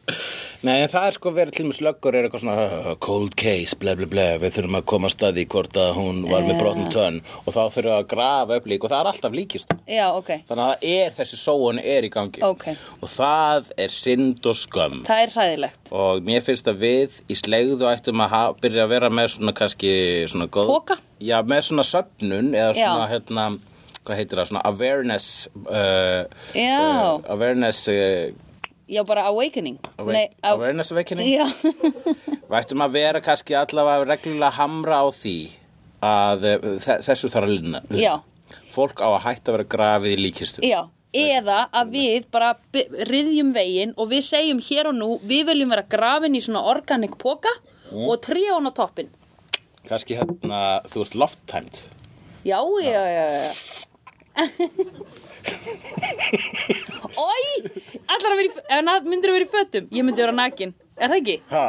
Speaker 4: Nei, en það er sko verið til mjög slöggur er eitthvað svona "Uh, cold case, ble ble ble við þurfum að koma að staði hvort að hún var
Speaker 3: Eh.
Speaker 4: með brotnum tönn og þá þurfum við að grafa upp lík og það er alltaf líkist
Speaker 3: Já, ok
Speaker 4: þannig að það er þessi sóun er í gangi
Speaker 3: Ok.
Speaker 4: og það er synd og skömm
Speaker 3: Það er hræðilegt
Speaker 4: og mér finnst að við í slegðu ættum að ha- byrja að vera með svona kannski svona góð
Speaker 3: Poka?
Speaker 4: Já, með svona söfnun eða svona
Speaker 3: Já.
Speaker 4: hérna hvað heitir það, svona awareness uh,
Speaker 3: Já.
Speaker 4: uh, awareness uh,
Speaker 3: Já, bara awakening
Speaker 4: awa
Speaker 3: Nei, á-
Speaker 4: awareness awakening
Speaker 3: Já, *laughs*
Speaker 4: og ættum að vera kannski allavega reglulega að hamra á því að uh, þe- þessu þarf að linna
Speaker 3: Já.
Speaker 4: fólk á að hætta að vera grafið í líkistu
Speaker 3: Já, eða að við bara by- ryðjum veginn og við segjum hér og nú, við viljum vera grafin í svona organic póka
Speaker 4: Mm.
Speaker 3: og tríja hún á toppin.
Speaker 4: kannski hérna, þú veist, lofttæmt
Speaker 3: Já, já, já, já. Ói, allar að vera í, f- en að myndir að vera í fötum, ég myndi vera nakin, er það ekki?
Speaker 4: ha,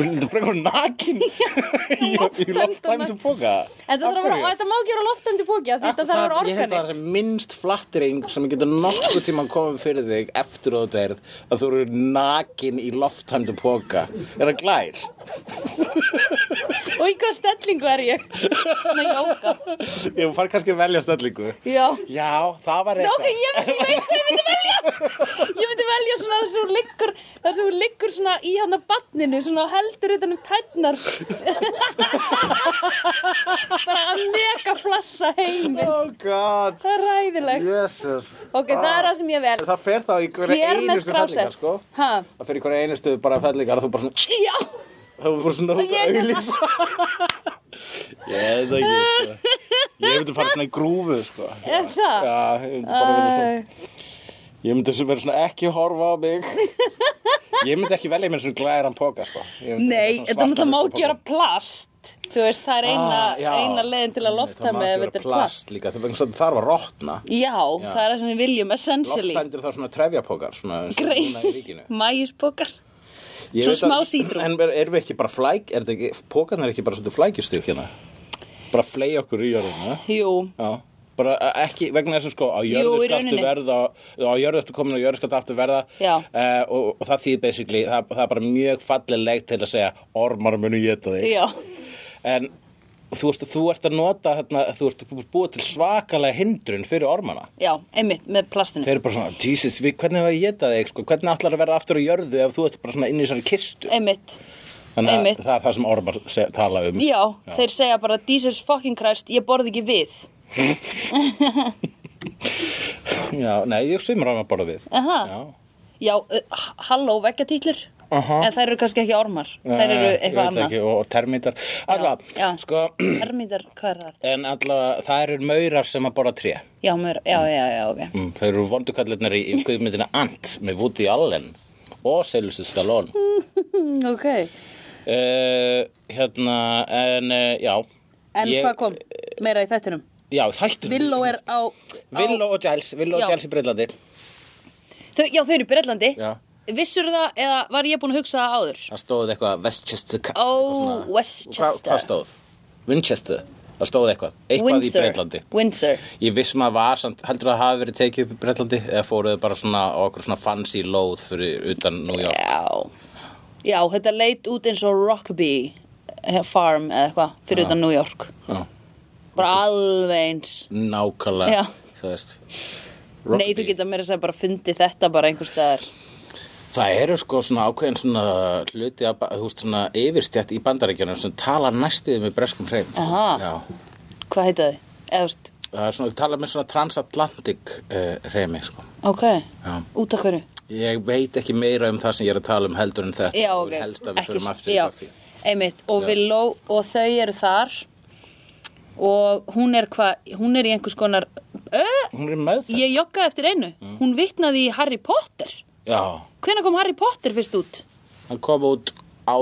Speaker 4: vildu frekar
Speaker 3: *laughs*
Speaker 4: nakin í, í
Speaker 3: lofttæmdum-
Speaker 4: lofttæmtum póka
Speaker 3: En það þarf að vera, og þetta má ekki vera loftandi póki að þetta þarf að vera
Speaker 4: Ég held að það
Speaker 3: organic.
Speaker 4: er minnst flattring sem getur nokkuð tíma komið fyrir þig eftir að þú deyrð að þú eru nakin í lofttæmdu póka. Er það glær?
Speaker 3: Og í hvað stellingu er ég? Svona jóka.
Speaker 4: Ég fær kannski að velja stöldlingu.
Speaker 3: Já.
Speaker 4: Já, það var
Speaker 3: Já, ok,
Speaker 4: eitthvað.
Speaker 3: ég veit, ég veit hvað ég myndi velja Ég myndi velja svona þar sem hún liggur þar sem hún liggur svona í hann á banninu svona og heldur utan um tætnar bara að mega flassa heimi
Speaker 4: Oh god,
Speaker 3: Það er ræðilegt
Speaker 4: jesus.
Speaker 3: Ok, það er það sem ég vel
Speaker 4: Það fer þá í hverja
Speaker 3: Sér með
Speaker 4: einustu fellingar,
Speaker 3: skrásett
Speaker 4: sko.
Speaker 3: Ha?
Speaker 4: Það fer í hverja einustu bara fellingar að þú bara svona,
Speaker 3: Já,
Speaker 4: þú bara svona út
Speaker 3: Ég- hérna.
Speaker 4: að auðlýsa. Ég veit það ekki, sko. Ég myndi fara svona í grúfu, sko.
Speaker 3: er það
Speaker 4: Já, ég myndi bara vera svona.
Speaker 3: Æ,
Speaker 4: Ég myndi þessu verið svona ekki horfa á mig Ég myndi ekki velja mér svona glæran póka sko. Ég myndi
Speaker 3: Nei,
Speaker 4: svona
Speaker 3: þetta náttúrulega má
Speaker 4: svartan
Speaker 3: ekki vera plast Þú veist, það er eina,
Speaker 4: Ah, já.
Speaker 3: eina leiðin til að lofta með ef
Speaker 4: Það má
Speaker 3: þetta
Speaker 4: ekki
Speaker 3: er
Speaker 4: vera
Speaker 3: plast
Speaker 4: plast líka Það vegna þess að það þarf að rotna
Speaker 3: Já, það er það sem við viljum, essentially
Speaker 4: Loftændur það svona trefjapókar svona, eins og
Speaker 3: Grey.
Speaker 4: núna í ríkinu.
Speaker 3: Mæjuspokar
Speaker 4: Ég
Speaker 3: Svo
Speaker 4: veit að-
Speaker 3: smá sítrú.
Speaker 4: En er, erum við ekki bara flæk Er þetta ekki, pókarna er ekki bara svona flækjustig hérna Bara flegi okkur í jörðina
Speaker 3: Jú,
Speaker 4: Já bara eh, ekki vegna þessu sko á
Speaker 3: Jú,
Speaker 4: jörðu
Speaker 3: í
Speaker 4: skaftu
Speaker 3: rauninni.
Speaker 4: verða á jörðu eftir komin og jörðu skaftu aftur verða
Speaker 3: Já.
Speaker 4: Eh, og, og það þýðir basically það, það er bara mjög fallileg til að segja ormar munu geta þig
Speaker 3: já,
Speaker 4: en þú veist þú ert að nota þarna, þú ert að búa til svakalega hindrun fyrir ormana
Speaker 3: já, einmitt með plastinu
Speaker 4: þeir eru bara svona Jesus, við, hvernig hefur ég geta þig sko? hvernig ætlar að verða aftur á jörðu ef þú ert bara svona inn í þessari kistu
Speaker 3: Einmitt,
Speaker 4: þannig að
Speaker 3: E, einmitt.
Speaker 4: það er það sem ormar se, tala um
Speaker 3: já, þeir segja bara Jesus fucking Christ, ég borð ekki við
Speaker 4: *laughs* Já, nei, ég sumur ormar bara við
Speaker 3: Aha.
Speaker 4: Já.
Speaker 3: Já, uh, halló, veggjatítlur
Speaker 4: Aha.
Speaker 3: En þær eru kannski ekki ormar Þær eru
Speaker 4: Nei, ég
Speaker 3: eitthvað
Speaker 4: veit það
Speaker 3: annað
Speaker 4: ekki, og, og termítar
Speaker 3: já.
Speaker 4: allavega, sko
Speaker 3: Hermítar, hvað er það?
Speaker 4: en allavega, það eru maurar sem að borða tré
Speaker 3: Já, mér, já, já, já, ok
Speaker 4: mm, þau eru vondukallirnar í, í guðmyndina Ant með Woody Allen og Sylvester Stallone
Speaker 3: Mm, Ok,
Speaker 4: uh, hérna, en uh, já
Speaker 3: en
Speaker 4: Ég-
Speaker 3: hvað kom meira í þættinum?
Speaker 4: já, þættunum
Speaker 3: Villó er á, á
Speaker 4: Villó og Giles, Villó
Speaker 3: Já.
Speaker 4: og Giles í Breitlandi
Speaker 3: þau, Já, þau eru í Bretlandi
Speaker 4: Já.
Speaker 3: Vissur það, eða var ég búin að hugsa það áður?
Speaker 4: það stóð eitthvað Westchester
Speaker 3: Ó,
Speaker 4: hvað
Speaker 3: Westchester
Speaker 4: hva stóð? Winchester, það stóð eitthvað eitthvað í Breitlandi
Speaker 3: Windsor
Speaker 4: Ég viss maður var, samt, heldur það hafi verið tekið upp í Bretlandi eða fóruðu bara svona á okkur svona fancy lóð fyrir utan New York
Speaker 3: Já, já, þetta leit út eins og Rockaby eh, Farm eða eitthvað fyrir utan New York
Speaker 4: Já,
Speaker 3: bara alveg eins
Speaker 4: nákvæmlega
Speaker 3: Já.
Speaker 4: þú veist
Speaker 3: Nei, þú geta mér að segja bara fundið þetta bara einhver staðar
Speaker 4: Það eru sko svona ákveðin svona hluti að, þú veist, svona yfirstjætt í bandaríkjunum sem tala næstuðið með breskum hreim
Speaker 3: Aha.
Speaker 4: Já,
Speaker 3: Hvað heita þið? Eða, þú veist,
Speaker 4: það er svona, tala með svona transatlantik uh, hreimi sko
Speaker 3: ok,
Speaker 4: Já.
Speaker 3: út af hverju
Speaker 4: Ég veit ekki meira um það sem ég er að tala um heldur en þetta
Speaker 3: Já,
Speaker 4: og
Speaker 3: ok,
Speaker 4: helst að við förum aftur í
Speaker 3: já,
Speaker 4: Buffy.
Speaker 3: einmitt og
Speaker 4: Já.
Speaker 3: Villó og þau eru þar og hún er hvað hún er í einhvers konar Ö,
Speaker 4: Hún er með það
Speaker 3: ég joggaði eftir einu
Speaker 4: Mm.
Speaker 3: hún vitnaði í Harry Potter
Speaker 4: Já,
Speaker 3: Hvenær kom Harry Potter fyrst út?
Speaker 4: hann kom út á,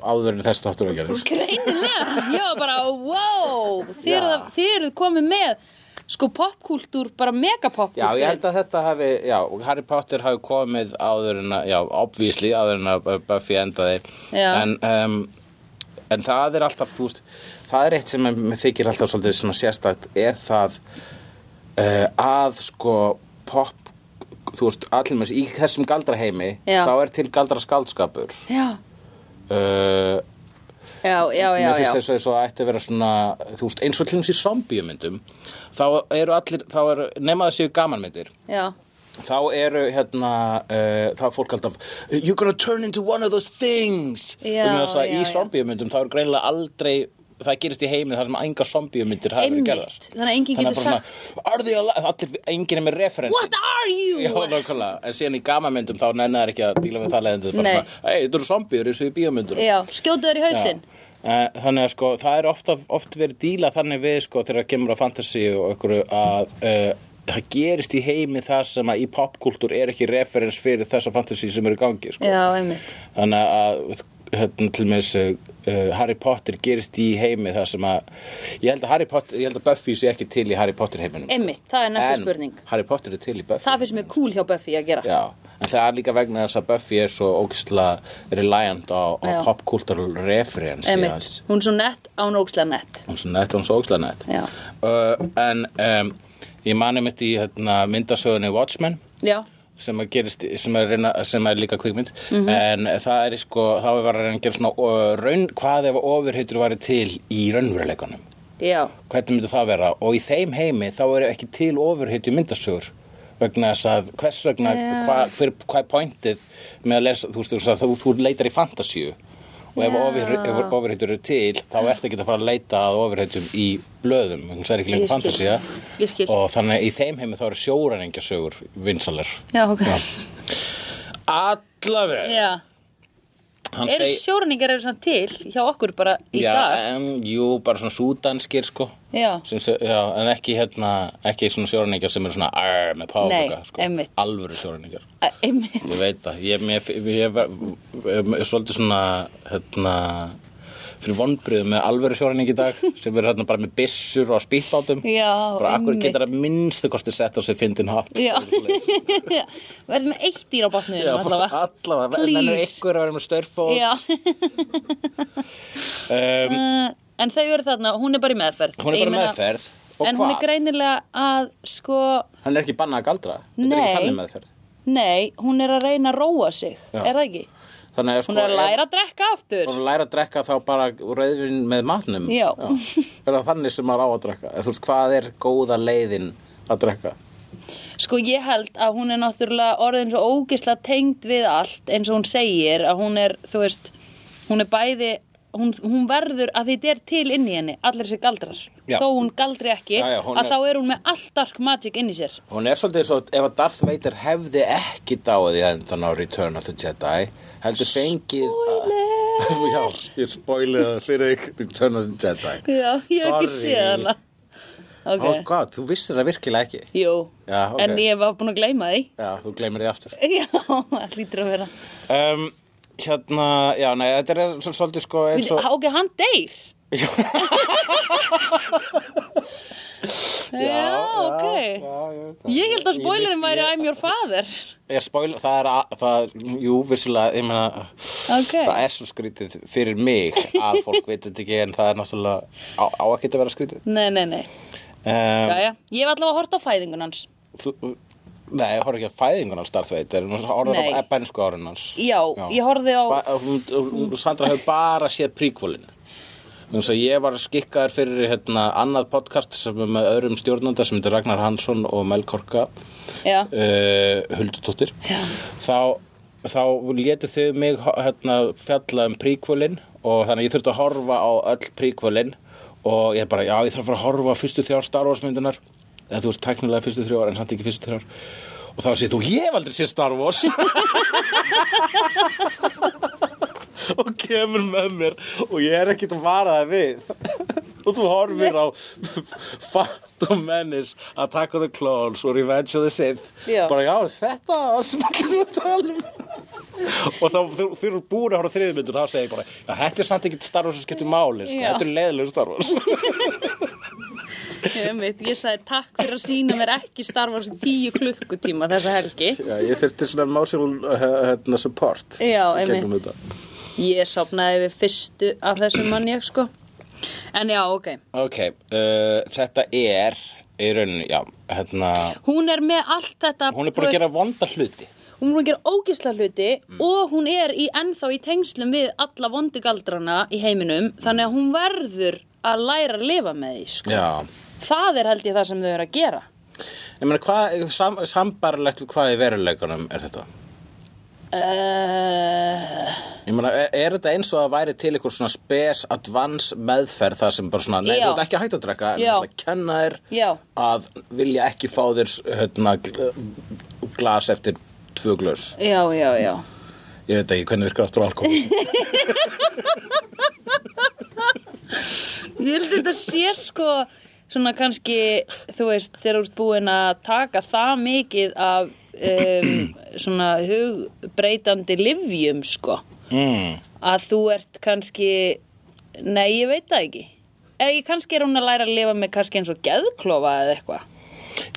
Speaker 4: áður en þess þáttur að gera
Speaker 3: Greinilega, ég var bara, wow, þið
Speaker 4: Já.
Speaker 3: eruð þið eruð komið með, sko, popkúltúr, bara
Speaker 4: Já,
Speaker 3: megapopkúltúr.
Speaker 4: ég held að þetta hafi, já, Harry Potter hafi komið áður en að, já, obvísli áður en að Buffy endaði
Speaker 3: Já.
Speaker 4: en, um, en það er alltaf, þú veist, það er eitt sem mér þykir alltaf svolítið svona sérstætt er það uh, að sko pop, þú veist, allir með í þessum galdraheimi,
Speaker 3: Já.
Speaker 4: þá er til galdra skaldskapur
Speaker 3: Já,
Speaker 4: uh,
Speaker 3: já, já, já,
Speaker 4: Mér
Speaker 3: já.
Speaker 4: finnst þess að það ætti að vera svona, þú veist, eins og til þessi zombíumyndum, þá eru allir, þá eru, nema það séu gamanmyndir,
Speaker 3: já.
Speaker 4: þá eru hérna uh, þá er fólk alltaf you're gonna turn into one of those things
Speaker 3: Já,
Speaker 4: og með þess að
Speaker 3: já,
Speaker 4: í
Speaker 3: já.
Speaker 4: zombiumyndum þá eru greinilega aldrei það gerist í heiminn þar sem enga zombiumyndir hafa verið gerðar
Speaker 3: Einmitt, þannig að enginn
Speaker 4: Þannig að
Speaker 3: getur
Speaker 4: bara
Speaker 3: sagt
Speaker 4: svona, are they alive? Allir, enginn er með referensi
Speaker 3: What are you?
Speaker 4: Já, nákvæmlega, en síðan í gamamyndum þá nennar þær ekki að díla við það leiðandi bara
Speaker 3: Nei.
Speaker 4: svona, hei, þetta eru zombiur eins og í bíómyndum
Speaker 3: Já, skjótu þér í hausinn
Speaker 4: Eh, Þannig að sko, það er ofta, oft verið díla þannig við sko þegar það kemur á fantasy og einhverju að uh, það gerist í heimi það sem að í popkúltúr er ekki referens fyrir þessa fantasy sem eru í gangi sko.
Speaker 3: Já, einmitt
Speaker 4: Þannig að hérna, til með þessu uh, Harry Potter gerist í heimi það sem að ég held að, Harry Potter, ég held að Buffy sé ekki til í Harry Potter heiminum
Speaker 3: Einmitt, það er næsta
Speaker 4: En
Speaker 3: spurning
Speaker 4: Harry Potter er til í Buffy
Speaker 3: Það finnst mér cool hjá Buffy að gera
Speaker 4: Já, en það er líka vegna þess að Buffy er svo ógislega reliant á, á
Speaker 3: Já.
Speaker 4: popkultúral referens
Speaker 3: Einmitt, hún er svo nett án ógslega nett
Speaker 4: hún er svo nett, hún er svo ógislega nett
Speaker 3: Já.
Speaker 4: uh, En um, ég mani mitt í hérna, myndasögunni Watchmen
Speaker 3: Já,
Speaker 4: sem að gerist, sem að reyna, sem að er líka kvikmynd
Speaker 3: Mhm.
Speaker 4: en það er sko, þá er bara að reyna að gera svona uh, raun, hvað ef ofurheitur væri til í raunveruleikunum
Speaker 3: já,
Speaker 4: hvernig myndi það vera og í þeim heimi þá eru ekki til ofurheitu myndasögur vegna þess að hvers vegna
Speaker 3: Já.
Speaker 4: hva, hver, hvað er pointið með að lesa, þú veist þú, veist að þú, þú leitar í fantasíu og ef
Speaker 3: Já.
Speaker 4: ofurhe- ef ofurheitur eru til þá ertu ekki að fara að leita að ofurheitum í blöðum, þannig að það er ekki
Speaker 3: Ég
Speaker 4: lengur
Speaker 3: skil.
Speaker 4: fantasía
Speaker 3: Ég skil.
Speaker 4: og þannig að í þeim heimi þá eru sjóræningjarsögur vinsalar
Speaker 3: já, ok
Speaker 4: allaveg
Speaker 3: Já, eru sjóraningar eru samt til hjá okkur bara í
Speaker 4: já,
Speaker 3: dag
Speaker 4: em, jú, bara svona súdanskir sko
Speaker 3: Já,
Speaker 4: sem, se- já, en ekki hérna ekki svona sjóræningar sem eru svona arr með páfuga,
Speaker 3: Nei,
Speaker 4: sko,
Speaker 3: einmitt.
Speaker 4: alvöru sjóræningar
Speaker 3: Æ, einmitt
Speaker 4: ég veit það, ég, mér, ég, ég, ég, ég svolítið svona hérna fyrir vonbröðu með alvöru sjóræning í
Speaker 3: *laughs*
Speaker 4: dag sem eru hérna bara með byssur og spýtbátum
Speaker 3: Já,
Speaker 4: bara akkur
Speaker 3: einmitt.
Speaker 4: getur að minnstu kosti sett á sig fyndin hatt
Speaker 3: Já, *laughs* verður með eitt dýr á botninu
Speaker 4: sko. Já,
Speaker 3: allavega
Speaker 4: *laughs* allavega, en það er
Speaker 3: Please.
Speaker 4: ykkur að vera með störfót
Speaker 3: Já, *laughs*
Speaker 4: um,
Speaker 3: en þau eru þarna, hún er bara í meðferð
Speaker 4: Hún er
Speaker 3: Ég
Speaker 4: bara
Speaker 3: meina-
Speaker 4: meðferð og
Speaker 3: En hún er
Speaker 4: hvað?
Speaker 3: greinilega að, sko,
Speaker 4: Hann er ekki bannað að galdra Þetta er
Speaker 3: Nei.
Speaker 4: ekki þannig meðferð
Speaker 3: nei, hún er að reyna að róa sig,
Speaker 4: Já.
Speaker 3: er það ekki?
Speaker 4: Þannig að sko
Speaker 3: Hún er að
Speaker 4: ef-
Speaker 3: læra að drekka aftur.
Speaker 4: og læra að drekka þá bara rauðvin með matnum
Speaker 3: Já.
Speaker 4: er það þannig sem maður á að drekka Eða, þú veist hvað er góða leiðin að drekka
Speaker 3: Sko ég held að hún er náttúrulega orðin svo ógisla tengd við allt eins og hún segir að hún er, þú veist, hún er bæði, hún, hún verður að því þetta er til inn í henni, allir sér galdrar.
Speaker 4: Já.
Speaker 3: Þó hún galdri ekki,
Speaker 4: Já, já, hún
Speaker 3: að
Speaker 4: er-
Speaker 3: þá er hún með allt dark magic inn í sér.
Speaker 4: hún er svolítið svo ef að Darth Vader hefði ekki dáið í endan á Return of the Jedi heldur fengið *laughs* Spoiler! já, ég spoilaði það fyrir þig Return of the Jedi
Speaker 3: Já, ég hef ekki
Speaker 4: Sorry.
Speaker 3: séð hana. Ok,
Speaker 4: oh god, þú vissir það virkilega ekki
Speaker 3: jú,
Speaker 4: Já, ok.
Speaker 3: en ég var búin að gleyma því.
Speaker 4: já, þú gleymir því aftur
Speaker 3: *laughs* Já, það lítur að vera.
Speaker 4: um, hérna, já, nei, þetta er svo- svolítið sko eins og
Speaker 3: Ok, hann deyr.
Speaker 4: *laughs* Já.
Speaker 3: já, ok.
Speaker 4: já, já.
Speaker 3: Ég held að spoilerin
Speaker 4: Ég-
Speaker 3: væri I'm your father.
Speaker 4: Er spoiler, það er, að- það, jú, vissulega, ég meina,
Speaker 3: Ok.
Speaker 4: það er svo skrítið fyrir mig að fólk veit þetta ekki en það er náttúrulega, á, á ekki að vera skrítið.
Speaker 3: Nei, nei, nei.
Speaker 4: Um,
Speaker 3: Jæja, ég hef allavega að horta á fæðingun hans.
Speaker 4: þú, nei, horf ekki að fæðingun hans darþveit, er hún horfður
Speaker 3: Nei.
Speaker 4: á bænsku árun hans.
Speaker 3: Já, ég horfði á...
Speaker 4: Ba, hún, hún, Sandra hefur bara séð príkvólin. Þannig að ég var skikkaður fyrir hérna, annað podcast sem er með öðrum stjórnanda sem heitir Ragnar Hansson og Mel Korka.
Speaker 3: Já,
Speaker 4: uh, Huldudóttir
Speaker 3: Já.
Speaker 4: þá, þá létu þau mig ho- hérna, fjalla um príkvölin og þannig að ég þurfti að horfa á öll príkvölin og ég bara, já, ég þarf að fara að horfa á fyrstu þrjár Star Wars myndunar eða þú veist, tæknilega fyrstu þrjár en samt ekki fyrstu þrjár og þá segir þú, ég hef aldrei séð Star Wars og kemur með mér og ég er ekkert að vara það við *laughs* og þú horfir á Phantom Menace Attack of the Clones og Revenge of the Sith
Speaker 3: Já.
Speaker 4: bara já, þetta var sem allir voru að tala um og þá þú þú eru búin að horfa þriðmyndur þá segir ég bara, já, þetta er samt ekkert Star Wars sem skiptir máli, sko.
Speaker 3: Já.
Speaker 4: þetta er leiðilega Star Wars
Speaker 3: ég veit, ég sagði takk fyrir að sína mér ekki starfa þessi tíu klukkutíma þessa helgi.
Speaker 4: *laughs* já, ég þurfti svona emotional hérna, support
Speaker 3: Já,
Speaker 4: gegnum
Speaker 3: einmitt.
Speaker 4: þetta.
Speaker 3: Ég sopnaði við fyrstu af þessum manni, ég sko. En já, ok.
Speaker 4: ok, uh, þetta er í rauninni, já, hérna
Speaker 3: Hún er með allt þetta...
Speaker 4: hún er búin að
Speaker 3: þú
Speaker 4: Mm.
Speaker 3: veist,
Speaker 4: gera vonda hluti
Speaker 3: Hún er búin að gera ógisla hluti og hún er í, ennþá í tengslum við alla vondugaldrana í heiminum. Þannig að hún verður að læra að lifa með því, sko.
Speaker 4: já
Speaker 3: Það er held ég það sem þau eru að gera.
Speaker 4: Ég meina, hvað, sam, sambarlegt við hvað í veruleikunum er þetta?
Speaker 3: Uh,
Speaker 4: Ég meina, er, er þetta eins og að væri til ykkur svona spes advance meðferð þar sem bara svona, nei,
Speaker 3: Já.
Speaker 4: þú ert ekki hægt að drekka en
Speaker 3: Já.
Speaker 4: það kenna þér
Speaker 3: Já.
Speaker 4: að vilja ekki fá þér hérna, gl- glas eftir tvö glös.
Speaker 3: já, já, já.
Speaker 4: Ég veit ekki hvernig virkar aftur alkohol.
Speaker 3: *laughs* Ég held að þetta sé sko svona kannski, þú veist, þegar þú ert búin að taka það mikið af um, *clears throat* svona hugbreytandi livjum sko
Speaker 4: mm.
Speaker 3: að þú ert kannski nei, ég veit það ekki eða ég kannski er hún að læra að lifa með kannski eins og geðklofa eða eitthvað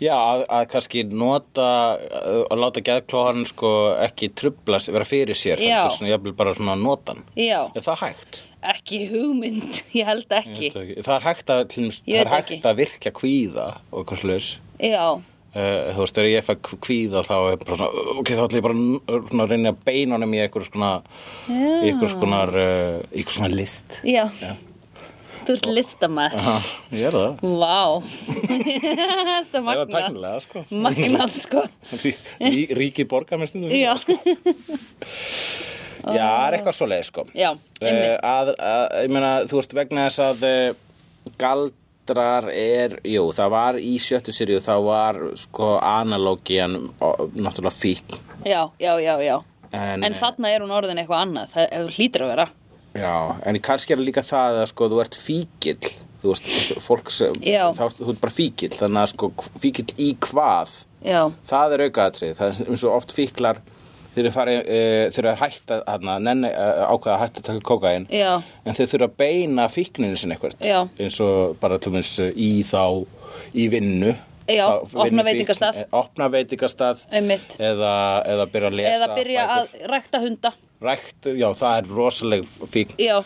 Speaker 4: Já, að, að kannski nota uh, að láta geðklóðan sko ekki trubla sig- vera fyrir sér,
Speaker 3: Já.
Speaker 4: heldur svona jafnvel bara svona notan.
Speaker 3: Já,
Speaker 4: Er það hægt?
Speaker 3: ekki hugmynd, *laughs* ég held ekki
Speaker 4: Ég veit ekki. Það er hægt að, til dæmis- það
Speaker 3: Ég
Speaker 4: er
Speaker 3: veit
Speaker 4: hægt
Speaker 3: ekki.
Speaker 4: að virkja kvíða og eitthvað slags.
Speaker 3: Já,
Speaker 4: Uh, þú veist, þegar ég fæk kvíða þá er bara svona, uh, ok, þá ætlum ég bara að n- svona, að reyna að beina honum í einhver skona
Speaker 3: Já.
Speaker 4: einhver skonar, uh, einhver svona list
Speaker 3: já, þú ert listamæður
Speaker 4: Ha, Ég er það
Speaker 3: Vá *laughs* Það er
Speaker 4: Það er
Speaker 3: magnað
Speaker 4: tæknilega, sko
Speaker 3: Magnað sko
Speaker 4: Rí, rí- Ríkið borgar mér stundum
Speaker 3: Já,
Speaker 4: Já, það er eitthvað svo leið, sko
Speaker 3: já, einmitt
Speaker 4: Eh, að, að, ég meina, þú veist, vegna þess að eh, galdrar er, jú, það var í sjöttu sirju, það var, sko, analógian, ó, náttúrulega fíkn.
Speaker 3: Já, já, já, já
Speaker 4: En, eh,
Speaker 3: En þarna er hún orðin eitthvað annað Það hefur hlýtur að vera
Speaker 4: Já, en kannski er það líka það að, sko, þú ert fíkill, þú veist, fólk sem,
Speaker 3: Já.
Speaker 4: þá, þú ert bara fíkill, þannig að, sko, fíkill í hvað,
Speaker 3: Já,
Speaker 4: það er aukaðatrið, það er eins og oft fíklar, þeir eru farið, e, þeir eru að hætta, hérna, nenni, eh, ákveða að hætta að taka kókain.
Speaker 3: já,
Speaker 4: En þeir þurfa að beina fíkninu sinni eitthvað
Speaker 3: Já.
Speaker 4: eins og bara til dæmis e, í þá í vinnu
Speaker 3: Já,
Speaker 4: Þá
Speaker 3: opna
Speaker 4: vinnufíkn-
Speaker 3: veitingastað.
Speaker 4: eh, Opna veitingastað
Speaker 3: Einmitt.
Speaker 4: eða, eða byrja að lesa
Speaker 3: eða byrja
Speaker 4: bækur.
Speaker 3: að rækta hunda
Speaker 4: Rækt, já, það er rosaleg fíkn
Speaker 3: Já,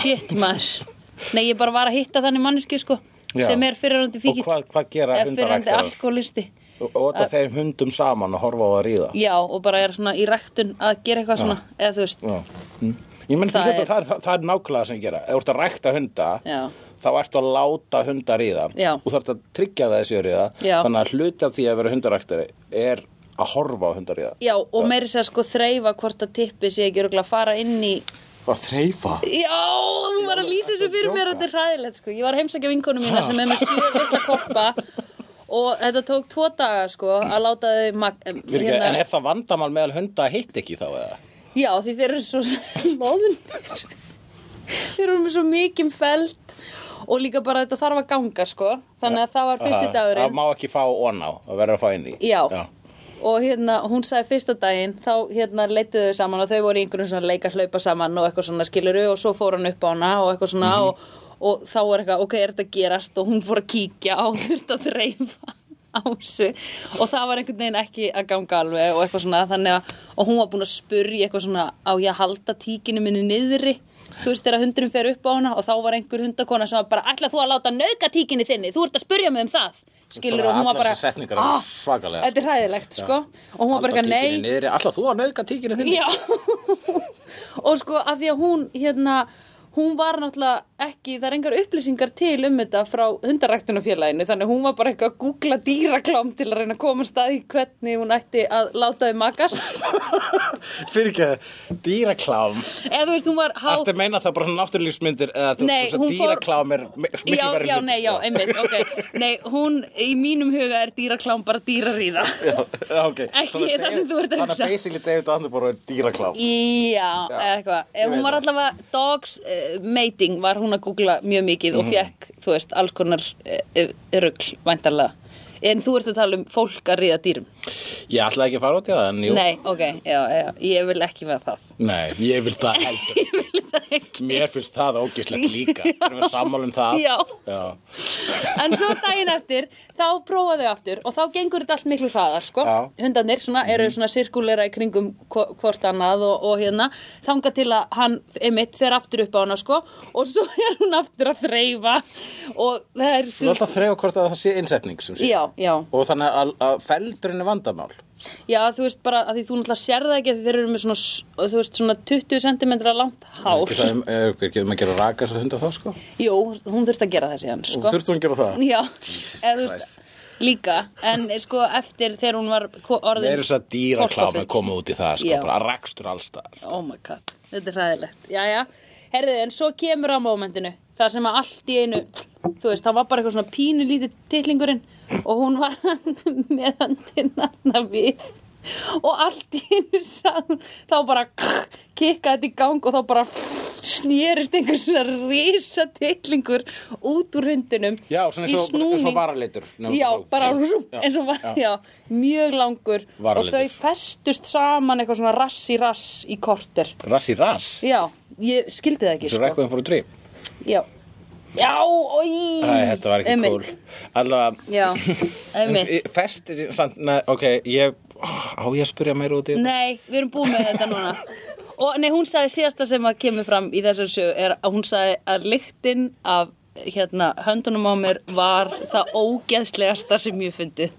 Speaker 3: shit maður Nei, ég bara var að hitta þannig manneski sko
Speaker 4: Já.
Speaker 3: sem er fyrirhandi fíkill
Speaker 4: Og hvað, hvað gera
Speaker 3: eða fyrirhandi
Speaker 4: hundaræktar
Speaker 3: alkoholisti
Speaker 4: Og ota þeim hundum saman og horfa á að ríða
Speaker 3: Já, og bara er svona í ræktun að gera eitthvað svona eða þú veist
Speaker 4: Já. Mm. Ég menn
Speaker 3: Það
Speaker 4: það,
Speaker 3: er-
Speaker 4: það, er- það er nákvæmlega sem ég gera Ef þú ert að rækta hunda
Speaker 3: Já.
Speaker 4: þá ertu að láta hunda ríða
Speaker 3: Já.
Speaker 4: og þú ert að tryggja það þessi ríða
Speaker 3: Já.
Speaker 4: þannig að hluti af því að vera hundaræktari er að horfa á hundaríða
Speaker 3: Já, og meiri sér sko þreifa hvort að tippi sé ekki örugglega að fara inn í
Speaker 4: að þreifa
Speaker 3: Já, þú var að lýsa þessu fyrir mér og þetta er hræðilegt sko. Ég var að heimsækja vinkonu mína sem er með sjö litla koppa og þetta tók tvo daga sko að láta þau mag- em,
Speaker 4: Fyrir, ekki, en er það vandamál meðal hunda að hitt ekki þá eða?
Speaker 3: Já, því þeir eru svo loðunir Þeir eru með svo mikið felt og líka bara þetta þarf að ganga sko þannig að það var fyrsti
Speaker 4: Að-
Speaker 3: dagurinn
Speaker 4: að má ekki fá on á, að verða að fá inn í
Speaker 3: Já. Og hérna, hún sagði fyrsta daginn, þá hérna leituðu þau saman og þau voru í einhvern svona leik að hlaupa saman og eitthvað svona skiluru og svo fór hann upp á hana og eitthvað
Speaker 4: Mhm.
Speaker 3: svona og, og þá er eitthvað, ok, er þetta að gerast og hún fór að kíkja á *laughs* þurft að dreifa á þessu og það var einhvern veginn ekki að ganga alveg og eitthvað svona þannig að, og hún var búin að spurja eitthvað svona á ég að halda tíkinu minni niðri þú veist þegar hundurinn fer upp á hana og þá var einhver hundakona sem var bara, ætla þú að láta nauka tíkinni þinni, þú ert að spurja mig um það skilur og hún var
Speaker 4: Allar
Speaker 3: bara
Speaker 4: þessar setningar eru
Speaker 3: "Ah,
Speaker 4: svakalegar,
Speaker 3: þetta er hræðilegt sko og hún var bara eitthvað nei
Speaker 4: niðri, Alltaf þú að nauðka tíkinu þinni
Speaker 3: Já *laughs* Og sko að því að hún hérna hún var náttúrulega ekki, það er engar upplýsingar til um þetta frá hundaræktunafélaginu þannig að hún var bara eitthvað að googla dýraklám til að reyna að koma staði hvernig hún ætti að láta þau makast
Speaker 4: *laughs* Fyrir ekki að dýraklám
Speaker 3: eða þú veist hún var há
Speaker 4: Ertu að meina það bara náttúrlífsmyndir eða þú
Speaker 3: Nei,
Speaker 4: veist að
Speaker 3: hún fór-
Speaker 4: dýraklám er mi- miklu sko.
Speaker 3: já,
Speaker 4: verið
Speaker 3: já, nei, já, einmitt,
Speaker 4: *laughs*
Speaker 3: ok nei, hún, í mínum huga er dýraklám bara dýraríða *laughs*
Speaker 4: okay.
Speaker 3: Ekki
Speaker 4: Þannig
Speaker 3: það sem
Speaker 4: David-
Speaker 3: þú ert að
Speaker 4: Þannig
Speaker 3: hugsa.
Speaker 4: að basically David Attenborough er dýraklám
Speaker 3: Já,
Speaker 4: Já,
Speaker 3: eða eitthvað.
Speaker 4: ég
Speaker 3: Hún
Speaker 4: veit
Speaker 3: var
Speaker 4: það.
Speaker 3: allavega dogs uh, mating var hún að googla mjög mikið
Speaker 4: Mhm.
Speaker 3: og fekk, þú veist, alls konar uh, rugl, væntarlega. En þú ert að tala um fólk að ríða dýrum.
Speaker 4: Ég ætla ekki að fara út í það en jú
Speaker 3: Nei, ok, já, já, ég vil ekki vera það. *laughs*
Speaker 4: Nei, ég vil það heldur Ég vil það ekki Mér finnst það ógislegt líka Erum við sammála um það?
Speaker 3: Já.
Speaker 4: Já.
Speaker 3: En svo daginn eftir, þá prófaðu aftur og þá gengur þetta allt miklu hraðar, sko.
Speaker 4: Já. Mhm.
Speaker 3: Hundarnir svona, eru svona sirkulera í kringum hvo- hvort annað og, og hérna, þanga til að hann, einmitt, fer aftur upp á hana, sko. Og svo er hún aftur að þreifa og það er...
Speaker 4: Þú ert alltaf að þreifa hvort að það sé innsetning sem sé.
Speaker 3: Já, já.
Speaker 4: Og þannig að, að feldurinn er vandamál.
Speaker 3: Já, þú veist bara að því þú náttúrulega sérða ekki að þeir eru með svona, s- þú veist, svona 20 cm langt hár.
Speaker 4: Getur það- eh, Getur maður að gera raka þessu hunda þá, sko?
Speaker 3: Jú, hún þurfti að gera það síðan, sko.
Speaker 4: Þurftu hún að gera það?
Speaker 3: Já, eða þú veist, líka en sko eftir þegar hún var ko-
Speaker 4: Það
Speaker 3: orðin
Speaker 4: eru þess að dýra klámi
Speaker 3: hvolpafull.
Speaker 4: koma út í það, sko,
Speaker 3: Já.
Speaker 4: bara rakstur allstar.
Speaker 3: Oh my god, þetta er hræðilegt Jæja, herðu, en svo kemur á mómentinu þar sem að allt í einu þú veist, hann var bara eitthvað svona pínu lítið titlingurinn og hún var *laughs* með höndina þarna við og allt í einu sann, þá bara kikkaði þetta í gang og þá bara snýrist einhver svona risa titlingur út úr hundinum
Speaker 4: Já, svona
Speaker 3: í
Speaker 4: eins og- eins og
Speaker 3: snúning.
Speaker 4: varalitur. Nefnum
Speaker 3: Já,
Speaker 4: þú-
Speaker 3: bara rúm,
Speaker 4: Já,
Speaker 3: eins og var,
Speaker 4: já.
Speaker 3: já. mjög langur
Speaker 4: Varalitur.
Speaker 3: og þau festust saman eitthvað svona rass í rass í korter
Speaker 4: Rass í rass,
Speaker 3: Já, ég skildi það ekki
Speaker 4: eins og
Speaker 3: sko.
Speaker 4: rekkuðum fór að trýp.
Speaker 3: Já, já, oi
Speaker 4: Æ, þetta var ekki
Speaker 3: Einmitt.
Speaker 4: cool. Allavega, *laughs*
Speaker 3: Já,
Speaker 4: en
Speaker 3: einmitt
Speaker 4: í- festi, samt, ne, ok, ég, á ég að spyrja meira út í þetta?
Speaker 3: Nei, við erum búin með þetta núna Og nei, hún sagði síðasta sem að kemur fram í þessar sögu er að hún sagði að lyktin af hérna, höndunum á mér var það ógeðslegasta sem ég hef fundið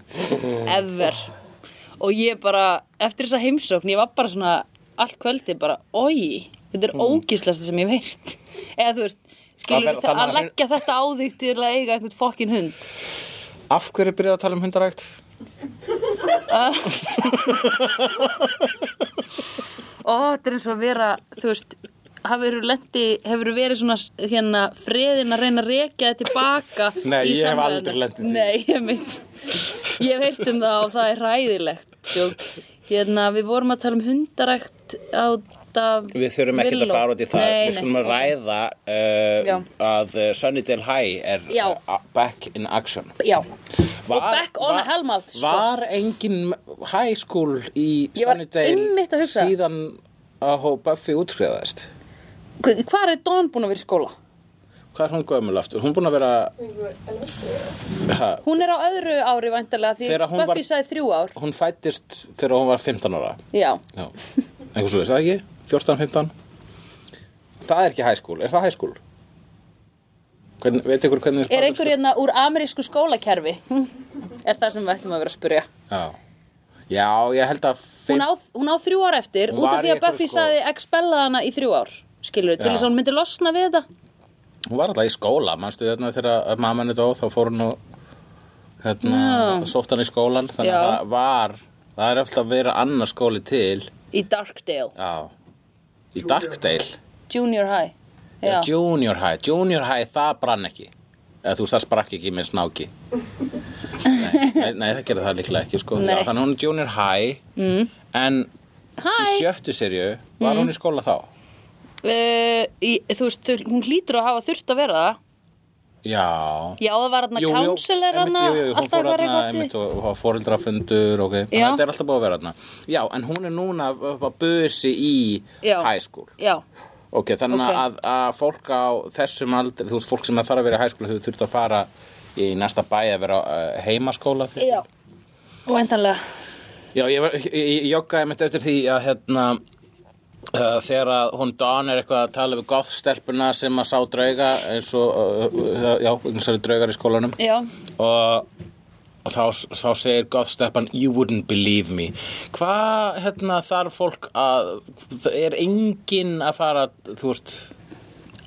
Speaker 3: ever og ég bara, eftir þessa heimsókn ég var bara svona, allt kvöldi bara, oi, þetta er
Speaker 4: Mm.
Speaker 3: ógeðslegasta sem ég hef veist eða þú veist, skilur
Speaker 4: Það- það-
Speaker 3: að
Speaker 4: maður-
Speaker 3: leggja þetta á þig til að eiga einhvern fokkin hund
Speaker 4: Af hverju byrjaði að tala um hundarækt?
Speaker 3: Ó, þetta er eins og að vera, þú veist, hafur lendi, hefur verið svona hérna freðin að reyna að rekja
Speaker 4: *laughs*
Speaker 3: þetta tilbaka
Speaker 4: Nei,
Speaker 3: í
Speaker 4: ég hef
Speaker 3: samræðuna?
Speaker 4: aldrei lent í því.
Speaker 3: Nei, ég mitt, ég hef heyrt um það og það er ræðilegt. Jók. Hérna, við vorum að tala um hundarækt át af
Speaker 4: Við þurfum ekkert að
Speaker 3: villó.
Speaker 4: fara út í það.
Speaker 3: Nei,
Speaker 4: Við skulum
Speaker 3: nei,
Speaker 4: að
Speaker 3: ok.
Speaker 4: ræða
Speaker 3: Já.
Speaker 4: uh, að uh, Sunnydale High er
Speaker 3: Já.
Speaker 4: uh, back in action.
Speaker 3: Já, og back on a helmað, sko.
Speaker 4: Var engin high school í
Speaker 3: Ég var einmitt að
Speaker 4: Sunnydale
Speaker 3: hugsa.
Speaker 4: síðan að hó Buffy útskrifaðist?
Speaker 3: Hva- Hvar er Dawn búin að vera í skóla?
Speaker 4: Hvað er hún gömul aftur? Hún er búin að vera... Ha,
Speaker 3: Hún er á öðru ári væntalega því
Speaker 4: Þegar hún
Speaker 3: Buffy
Speaker 4: var-
Speaker 3: sagði þrjú ár.
Speaker 4: hún fættist þegar hún var 15 ára.
Speaker 3: Já,
Speaker 4: Já. Einhvers veist, það ekki? 14, 15? Það er ekki high school. Er það high school? Hvern, veit ykkur hvernig...
Speaker 3: er einhver hérna úr amerísku skólakerfi? er það sem við ættum að vera að spurja.
Speaker 4: Já. Já, ég held að
Speaker 3: hún á, hún á þrjú ár eftir
Speaker 4: Hún
Speaker 3: út af
Speaker 4: var í
Speaker 3: því að
Speaker 4: einhverju
Speaker 3: Buffy
Speaker 4: skóla.
Speaker 3: sagði expella hana í þrjú ár skilur til
Speaker 4: Já.
Speaker 3: þess að hún myndi losna við þetta
Speaker 4: hún var alltaf í skóla, manstu þarna þegar að mamma henni dó, þá fór hún og hérna,
Speaker 3: Já.
Speaker 4: sótt hann í skólan þannig
Speaker 3: Já.
Speaker 4: að það var, það er alltaf að vera annar skóli til
Speaker 3: í Darkdale,
Speaker 4: Já. í Darkdale
Speaker 3: Junior High já,
Speaker 4: eða Junior High, Junior High það brann ekki eða þú veist það sprakk ekki með
Speaker 3: *laughs*
Speaker 4: snáki nei, nei, nei, það gerði það líklega ekki sko.
Speaker 3: Nei.
Speaker 4: Já, þannig að hún er Junior High mm. en í
Speaker 3: Hæ,
Speaker 4: sjöttu serju var
Speaker 3: Mm.
Speaker 4: hún í skóla þá
Speaker 3: uh, í, þú veist þau- hún hlýtur að hafa þurft að vera það
Speaker 4: Já
Speaker 3: já það var hann að counselor hann
Speaker 4: einmitt, jú, jú, hún
Speaker 3: alltaf
Speaker 4: fór
Speaker 3: var
Speaker 4: hana,
Speaker 3: eitthvað
Speaker 4: einmitt,
Speaker 3: eftir
Speaker 4: og, og fóreldrafundur ok, þannig
Speaker 3: Já.
Speaker 4: að þetta er alltaf búið að vera hana já, en hún er núna upp að busi í
Speaker 3: Já.
Speaker 4: high school
Speaker 3: já,
Speaker 4: ok, þannig
Speaker 3: Ok.
Speaker 4: Að, að fólk á þessum aldri, þú veist, fólk sem þarf að vera í high school þau þurft að fara í næsta bæ að vera uh, heimaskóla
Speaker 3: já og endanlega
Speaker 4: Já, ég, var- ég, ég joggaði mitt eftir því að hérna uh, þegar að hún Dawn er eitthvað að tala við gothstelpuna sem að sá drauga eins og, uh, uh, já, þessari draugar í skólanum
Speaker 3: já,
Speaker 4: og, og þá, þá segir gothstelpan you wouldn't believe me hvað hérna þarf fólk að það er enginn að fara þú veist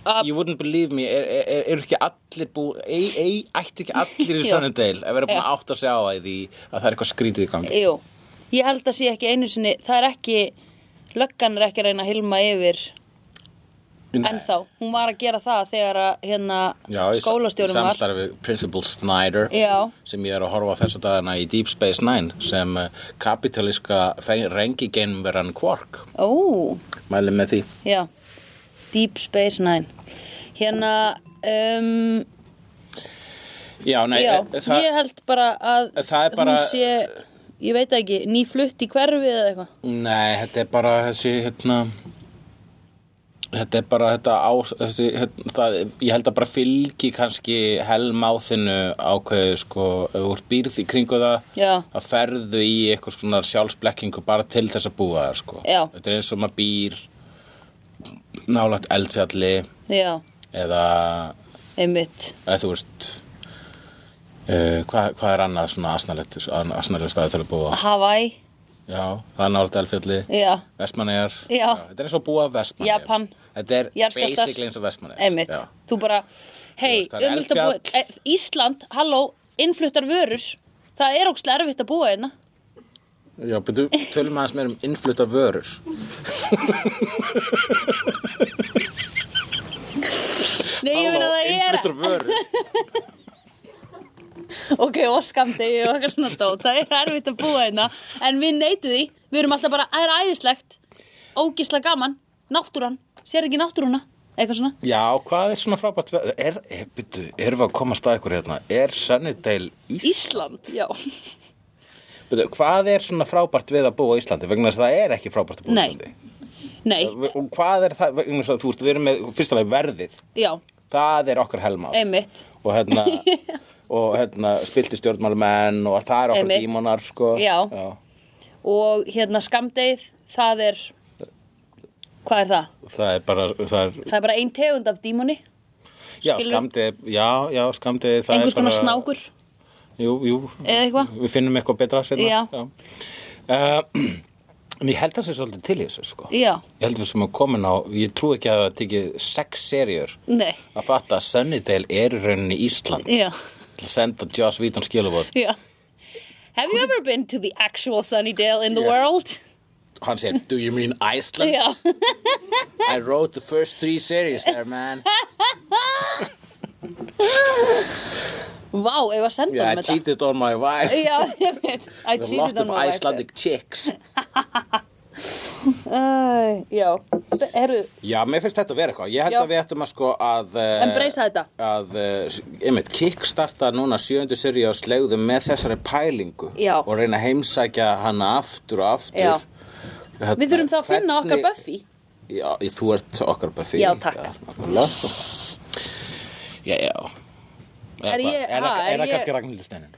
Speaker 3: Að-
Speaker 4: you wouldn't believe me er, er, er, eru ekki allir bú ei, ei, ættu ekki allir í
Speaker 3: *laughs* Já.
Speaker 4: svona deil að vera búin
Speaker 3: Já.
Speaker 4: að átta sig á að því að það er eitthvað skrítið í gangi
Speaker 3: jú ég held að sé ekki einu sinni það er ekki, löggan er ekki að reyna að hilma yfir ennþá, hún var að gera það þegar að hérna skólastjórum var
Speaker 4: samstarfi Principal Snyder
Speaker 3: Já.
Speaker 4: sem ég er að horfa á þessu dagana í Deep Space Nine sem eh, kapitaliska rengi geimveran Quark
Speaker 3: Ó,
Speaker 4: mæli með því
Speaker 3: já Deep Space Nine Hérna um,
Speaker 4: Já, nei,
Speaker 3: Já,
Speaker 4: e, það, Eh,
Speaker 3: ég held bara að
Speaker 4: það er bara-
Speaker 3: hún sé, ég veit það ekki nýflutt í hverfið eða eitthvað
Speaker 4: nei, þetta er bara þessi, hérna, þetta er bara þetta á, þessi, hérna, það, ég held að bara fylgi kannski helmáþinu ákveðu, sko, ef þú ert býrð í kringu það,
Speaker 3: Já,
Speaker 4: að ferðu í eitthvað svona sjálfsblekkingu bara til þess að búa þar, sko.
Speaker 3: Já.
Speaker 4: Þetta er eins og maður býr nálægt eldfjalli
Speaker 3: já,
Speaker 4: eða,
Speaker 3: einmitt
Speaker 4: eða þú veist, uh, hvað, hvað er annað svona asnalegt, asnalegt staði til að
Speaker 3: Ah.
Speaker 4: búa?
Speaker 3: Hawaii,
Speaker 4: Já, það er nálægt elfjalli
Speaker 3: já,
Speaker 4: Vestmannegar
Speaker 3: Já.
Speaker 4: Þetta er eins og búa Vestmannegar
Speaker 3: Japan.
Speaker 4: Þetta er
Speaker 3: Jarðskjálftar.
Speaker 4: basically eins og Vestmannegar
Speaker 3: einmitt
Speaker 4: Já.
Speaker 3: Þú bara, hei,
Speaker 4: Þú veist, það er
Speaker 3: umhvilt að
Speaker 4: eldfjall.
Speaker 3: búa e, Ísland, halló, innfluttar vörur Það er ógst erfitt að búa hérna. einna.
Speaker 4: Já, betur, tölum aðeins meir um innflutta vörur.
Speaker 3: Nei, ég meina það er...
Speaker 4: Innfluttar
Speaker 3: *laughs*
Speaker 4: vörur.
Speaker 3: ok, oskamdegi og eitthvað svona dót það er erfitt að búa hérna en við neytu því, við erum alltaf bara það er æðislegt, ógisla gaman náttúran, sér ekki náttúruna eitthvað svona,
Speaker 4: Já, hvað er svona frábært vörur? Er, er, betur, erum við að komast að ykkur hérna? Er Sunnydale Ís?
Speaker 3: Ísland já,
Speaker 4: Betur, hvað er svona frábært við að búa á Íslandi? Vegna þess að það er ekki frábært að búa á
Speaker 3: Nei.
Speaker 4: Íslandi.
Speaker 3: nei,
Speaker 4: Og hvað er það, vegna þess að þú veist, við erum með, fyrst alveg verðið.
Speaker 3: já
Speaker 4: Það er okkar helmáð.
Speaker 3: einmitt,
Speaker 4: og hérna
Speaker 3: *laughs*
Speaker 4: og hérna spilti stjórnmálumenn og allt það er okkur
Speaker 3: Einmitt.
Speaker 4: dímonar sko
Speaker 3: Já. og hérna skamdegið það er hvað er það?
Speaker 4: það er bara það er,
Speaker 3: Það er bara ein tegund af dímoni
Speaker 4: já,
Speaker 3: Skilur-
Speaker 4: skamdið, já, já, skamdið það
Speaker 3: einhers
Speaker 4: er bara,
Speaker 3: konar snákur
Speaker 4: jú, jú,
Speaker 3: Eða eitthvað?
Speaker 4: við finnum eitthvað betra seinna,
Speaker 3: Já.
Speaker 4: já. Uh, *clears throat* en ég held að það sé svolítið til í þessu sko
Speaker 3: já,
Speaker 4: ég held að við sem að komin á, ég trú ekki að það tekið sex serjur
Speaker 3: nei,
Speaker 4: að fatta að Sunnydale er í rauninni Ísland
Speaker 3: já,
Speaker 4: til að senda Joss Vítan skilabóð
Speaker 3: já Have you ever been to the actual Sunnydale in the world?
Speaker 4: hann segir, do you mean Iceland?
Speaker 3: Já,
Speaker 4: I wrote the first three series there man
Speaker 3: vá, eigum *laughs* við að senda
Speaker 4: Yeah, I
Speaker 3: honum þetta?
Speaker 4: cheated on my wife.
Speaker 3: Já, *laughs* ég veit I
Speaker 4: With a
Speaker 3: cheated
Speaker 4: lot
Speaker 3: on
Speaker 4: of
Speaker 3: my wife
Speaker 4: Icelandic chicks.
Speaker 3: Æ, Já, Se- herru,
Speaker 4: Já, mér finnst þetta að vera eitthvað. Ég held
Speaker 3: Já.
Speaker 4: að við ættum að sko að... Uh,
Speaker 3: Embracea þetta.
Speaker 4: Að, uh, einmitt, kickstarta núna sjöundu seri á slegðum með þessari pælingu.
Speaker 3: Já.
Speaker 4: Og reyna að heimsækja hana aftur og aftur.
Speaker 3: Já.
Speaker 4: Þetta-
Speaker 3: við þurfum þá að finna okkar
Speaker 4: hvernig-
Speaker 3: Buffy
Speaker 4: Já, í- þú ert okkar Buffy.
Speaker 3: Já, takk.
Speaker 4: nákvæmlega. sko. Já, já.
Speaker 3: Er ég-
Speaker 4: Er
Speaker 3: ha,
Speaker 4: það
Speaker 3: er
Speaker 4: er það
Speaker 3: ég-
Speaker 4: kannski Ragnhildur Steinin?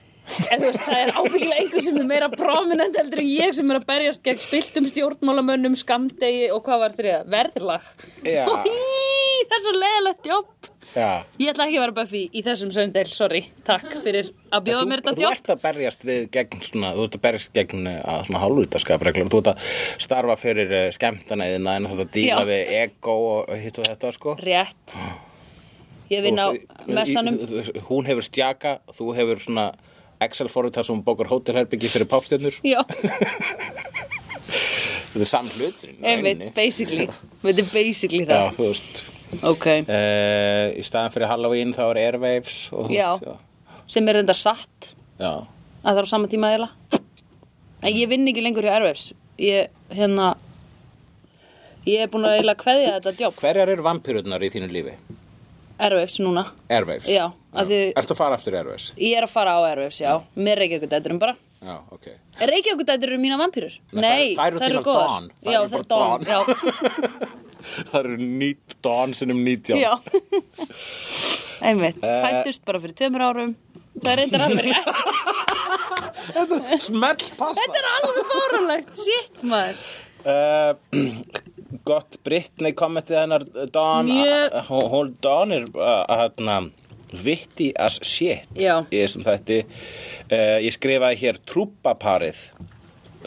Speaker 3: En þú veist, það er ábyggilega einhver sem er meira prominent heldur en ég sem er að berjast gegn spiltum stjórnmálamönnum, skamdegi og hvað var þriða? Verðlag
Speaker 4: Já.
Speaker 3: *laughs* Í, Það er svo leiðilegt jobb
Speaker 4: Já.
Speaker 3: Ég ætla ekki að vera Buffy í þessum söndel, sorry Takk fyrir að bjóða mér þetta
Speaker 4: Þú
Speaker 3: jobb
Speaker 4: ert að berjast við gegn svona, þú ert að berjast gegn eh, að svona hálfutaskap reglum, þú ert að starfa fyrir uh, skemmtanæðina en þú ert að díla
Speaker 3: Já.
Speaker 4: við ego og hitt og þetta sko.
Speaker 3: Rétt Ég vinn á
Speaker 4: Og þú-
Speaker 3: messanum
Speaker 4: í- þú- Hún hefur stjaka, þú hefur svona Excel forrið þar sem hún bókar hótelherbyggi fyrir popstjörnur. *laughs*
Speaker 3: Já,
Speaker 4: Þetta er samt hluturinn.
Speaker 3: einmitt, basically Þetta er basically
Speaker 4: Já,
Speaker 3: það
Speaker 4: þú veist.
Speaker 3: Ok,
Speaker 4: Uh, í staðan fyrir Halloween þá er Airwaves og þú
Speaker 3: Já.
Speaker 4: veist. Já.
Speaker 3: sem er enda satt
Speaker 4: Já.
Speaker 3: að það er á sama tíma eiginlega en ég vinn ekki lengur hjá Airwaves ég, hérna ég er búin að eiginlega kveðja þetta jobb
Speaker 4: Hverjar eru vampirurnar í þínu lífi?
Speaker 3: Airwaves núna
Speaker 4: Airwaves?
Speaker 3: Já, af því-
Speaker 4: Ertu að fara aftur Airwaves?
Speaker 3: ég er að fara á Airwaves, já, með Reykjavíkudæturum bara
Speaker 4: Já, ok.
Speaker 3: Reykjavíkudætur eru mína vampýrur
Speaker 4: Nei,
Speaker 3: nei,
Speaker 4: þær- þær eru
Speaker 3: þær
Speaker 4: þínar
Speaker 3: góðar.
Speaker 4: Dawn. Þær
Speaker 3: já,
Speaker 4: eru
Speaker 3: það er
Speaker 4: bara
Speaker 3: Dawn, já,
Speaker 4: *laughs*
Speaker 3: *laughs*
Speaker 4: Það eru nýtt dansinum nýtján.
Speaker 3: já. *laughs* Eh. einmitt, fættust bara fyrir tveimur árum það er reyndar alveg rétt
Speaker 4: Smell
Speaker 3: þetta er *laughs* alveg fáránlegt, shit maður
Speaker 4: Eh, *clears throat* gott Brittany kommentið hennar uh, Dawn.
Speaker 3: Mjög-
Speaker 4: Uh, Hún hún- Dawn er uh, hérna vitti as shit
Speaker 3: Já.
Speaker 4: í þessum þætti. Uh, ég skrifaði hér trúpaparið.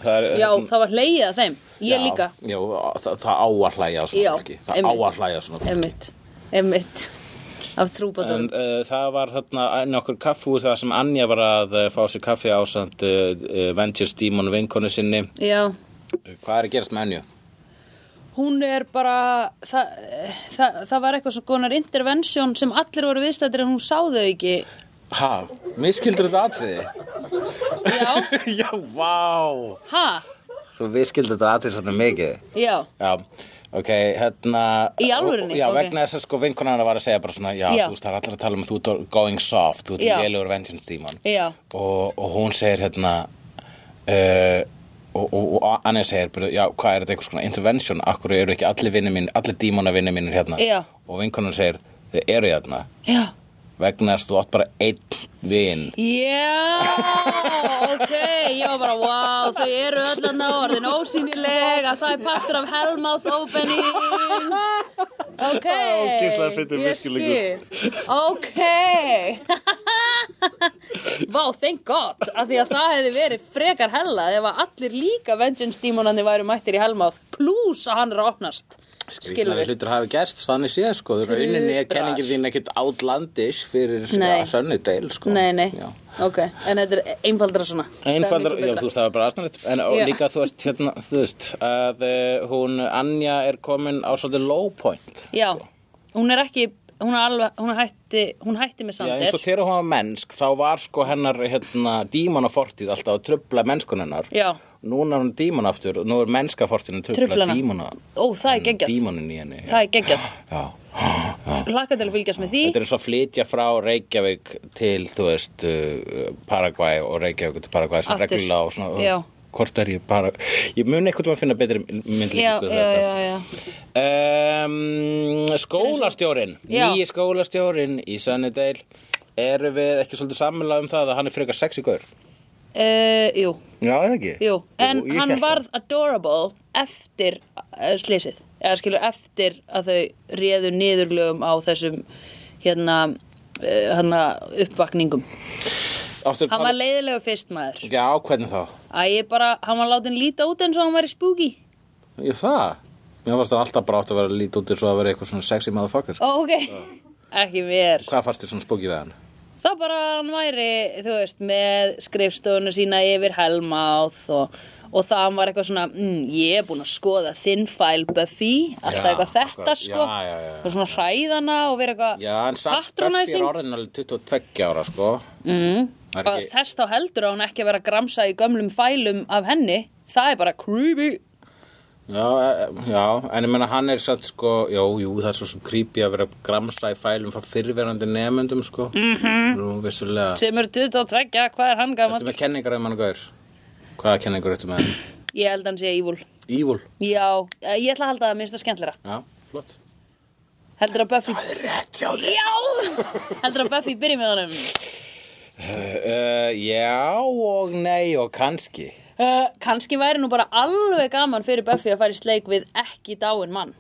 Speaker 4: Það er, eh,
Speaker 3: já, það var hlegið að þeim, ég líka
Speaker 4: Já, það, það á að hlæja að svona
Speaker 3: Já,
Speaker 4: fólki. Það á
Speaker 3: einmitt.
Speaker 4: að hlæja að svona fólki.
Speaker 3: Emmitt, Emmitt af
Speaker 4: En
Speaker 3: trúbadórum
Speaker 4: uh, það var þarna enn okkur kaffúi það sem Anja var að uh, fá sér kaffi ásand uh, uh, Ventures Demon vinkonu sinni.
Speaker 3: Já,
Speaker 4: Hvað er að gerast með Anju?
Speaker 3: hún er bara það, það, það var eitthvað svo konar intervention sem allir voru viðstættir en hún sá þau ekki
Speaker 4: Ha, miskildur þetta atriði?
Speaker 3: Já,
Speaker 4: *laughs* Já, vá!
Speaker 3: ha,
Speaker 4: Svo miskildur þetta atriði svolítið mikið.
Speaker 3: já
Speaker 4: Já, ok, hérna...
Speaker 3: Í alvörunni?
Speaker 4: Já,
Speaker 3: Ok.
Speaker 4: vegna þess að sko vinkonana var að segja bara svona, já,
Speaker 3: Já.
Speaker 4: þú veist, það er allir að tala um að þú ert going soft, þú
Speaker 3: Já.
Speaker 4: ert vélur vengeance demon.
Speaker 3: Já.
Speaker 4: Og, og hún segir hérna, uh, og, og, og Anja segir, bara, já, hvað er þetta eitthvað svona intervention, akkur eru ekki allir vinni mín, allir dímona vinni mínir hérna.
Speaker 3: Já.
Speaker 4: Og vinkonan segir, þið eru hérna,
Speaker 3: Já,
Speaker 4: vegna þess að þú átt bara einn vin.
Speaker 3: já, ok, ég var bara, wow, þau eru öllan á orðin ósýnilega, það er partur af Hellmouth opening, ok,
Speaker 4: ógeðslega fyndið
Speaker 3: ég
Speaker 4: misskilningur.
Speaker 3: skil, ok, *laughs* vá, thank god, af því að það hefði verið frekar hella ef að allir líka Vengeance Demonandi væru mættir í Hellmouth, pluss að hann er að opnast, skilur
Speaker 4: Skrýtnari hlutur hafi gerst, þannig séð sko, rauninni er
Speaker 3: Tuðrar.
Speaker 4: kenningin þín ekkit outlandish fyrir
Speaker 3: Nei.
Speaker 4: ja, sönnudel sko.
Speaker 3: Nei, nei,
Speaker 4: Já.
Speaker 3: ok, en þetta er einfaldra svona um Það er
Speaker 4: Einfaldar,
Speaker 3: miklu
Speaker 4: já,
Speaker 3: betra.
Speaker 4: þú veist, það var bara aðstæðanlegt En og
Speaker 3: Já.
Speaker 4: líka, þú veist, hérna, þú veist að uh, hún, Anja er komin á svolítið low point
Speaker 3: Já, hún er ekki, hún er alveg, hún er hætti, hún hætti með
Speaker 4: Já, eins og
Speaker 3: Sander
Speaker 4: þegar hún var mennsk, þá var sko hennar, hérna, dímon á fortíð alltaf að trubla mennskun hennar
Speaker 3: Já,
Speaker 4: Núna er hún dímon aftur, nú er mennska fortíðin að trubla
Speaker 3: Truflana.
Speaker 4: dímona
Speaker 3: Ó, það er geggjað.
Speaker 4: Dímonin í henni
Speaker 3: það er geggjað
Speaker 4: Já, *gasps*
Speaker 3: Laka til að fylgjast með því
Speaker 4: Þetta er eins og að flytja frá Reykjavík til, þú veist, uh, Paraguay og Reykjavík til Paraguay sem
Speaker 3: Aftur.
Speaker 4: reglulega og svona, uh,
Speaker 3: Já.
Speaker 4: hvort er ég bara, ég mun eitthvað að finna betri myndlíku
Speaker 3: Já, já, já, já
Speaker 4: Um, skólastjórin,
Speaker 3: Já.
Speaker 4: nýji skólastjórin í Sunnydale, erum við ekki svolítið sammála um það að hann er frekar sexy gaur?
Speaker 3: Uh, jú,
Speaker 4: Já, eða ekki?
Speaker 3: jú, en
Speaker 4: ég
Speaker 3: hann
Speaker 4: hélt það.
Speaker 3: varð adorable eftir uh, slysið, eða skilur eftir að þau réðu niðurlögum á þessum hérna, uh, hérna uppvakningum
Speaker 4: Áttu að
Speaker 3: Hann
Speaker 4: tala-
Speaker 3: var leiðilegu fyrst maður
Speaker 4: Já, hvernig þá?
Speaker 3: Æ, ég bara, hann var látin líta út eins og hann var í spooky
Speaker 4: Jú, það? Mér varst það alltaf brátt að vera lítið út eins og að vera eitthvað svona sexy motherfucker.
Speaker 3: Ó, ok, ekki mér
Speaker 4: Hvað fannst þér svona spókið við hann?
Speaker 3: Það bara hann væri, þú veist, með skrifstofuna sína yfir helmáð og, og það hann var eitthvað svona, mm, ég er búin að skoða þinn fæl Buffy, alltaf
Speaker 4: Já,
Speaker 3: eitthvað þetta
Speaker 4: akkurat.
Speaker 3: sko,
Speaker 4: Já, já, já, já.
Speaker 3: og svona hræðana og vera eitthvað
Speaker 4: Já, en samt Buffy er orðin alveg 22 ára, sko.
Speaker 3: mm,
Speaker 4: Það er
Speaker 3: og
Speaker 4: ekki-
Speaker 3: þess þá heldur að hún ekki að vera að gramsa í gömlum fælum af henni, það er bara creepy.
Speaker 4: Já, e- já, en ég meina hann er satt, sko, jú, jú, það er svo sem creepy að vera að gramsa í fælum frá fyrirverandi nefnendum, sko. Mhm. Nú, vissulega.
Speaker 3: sem er 22, hvað er hann gaman?
Speaker 4: Ertu með kenningar um hann gaur? Hvaða kenningar ertu með hann?
Speaker 3: Ég held að hann sé evil.
Speaker 4: Evil.
Speaker 3: Já, ég ætla að halda það minnst að skemmtlera.
Speaker 4: Já, flott.
Speaker 3: Heldur að Buffy,
Speaker 4: Það er rétt hjá þér. *laughs*
Speaker 3: já, heldur að Buffy byrja með honum.
Speaker 4: Uh, já og nei og kannski.
Speaker 3: Uh, kannski væri nú bara alveg gaman fyrir Buffy að fara í sleik við ekki dáin mann.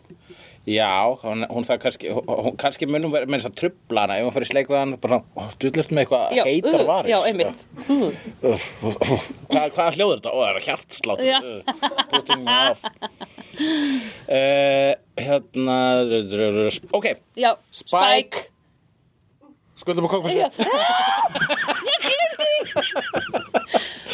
Speaker 4: Já, hún, hún það kannski, hún- hún kannski munum verið með þess að trubla hana ef hún fyrir sleik við hann, bara, ó, þú ert með eitthvað
Speaker 3: Já,
Speaker 4: heitar
Speaker 3: uh,
Speaker 4: varis.
Speaker 3: já, einmitt.
Speaker 4: Uh, uh, uh, uh, hvað, hvað hljóður þetta? Ó, það er hjartslátt.
Speaker 3: Já.
Speaker 4: Uh, putting me off. Uh, hérna, r- r- r- r- ok,
Speaker 3: Já,
Speaker 4: Spike. skuldum að koma
Speaker 3: Já.
Speaker 4: fyrir.
Speaker 3: *laughs*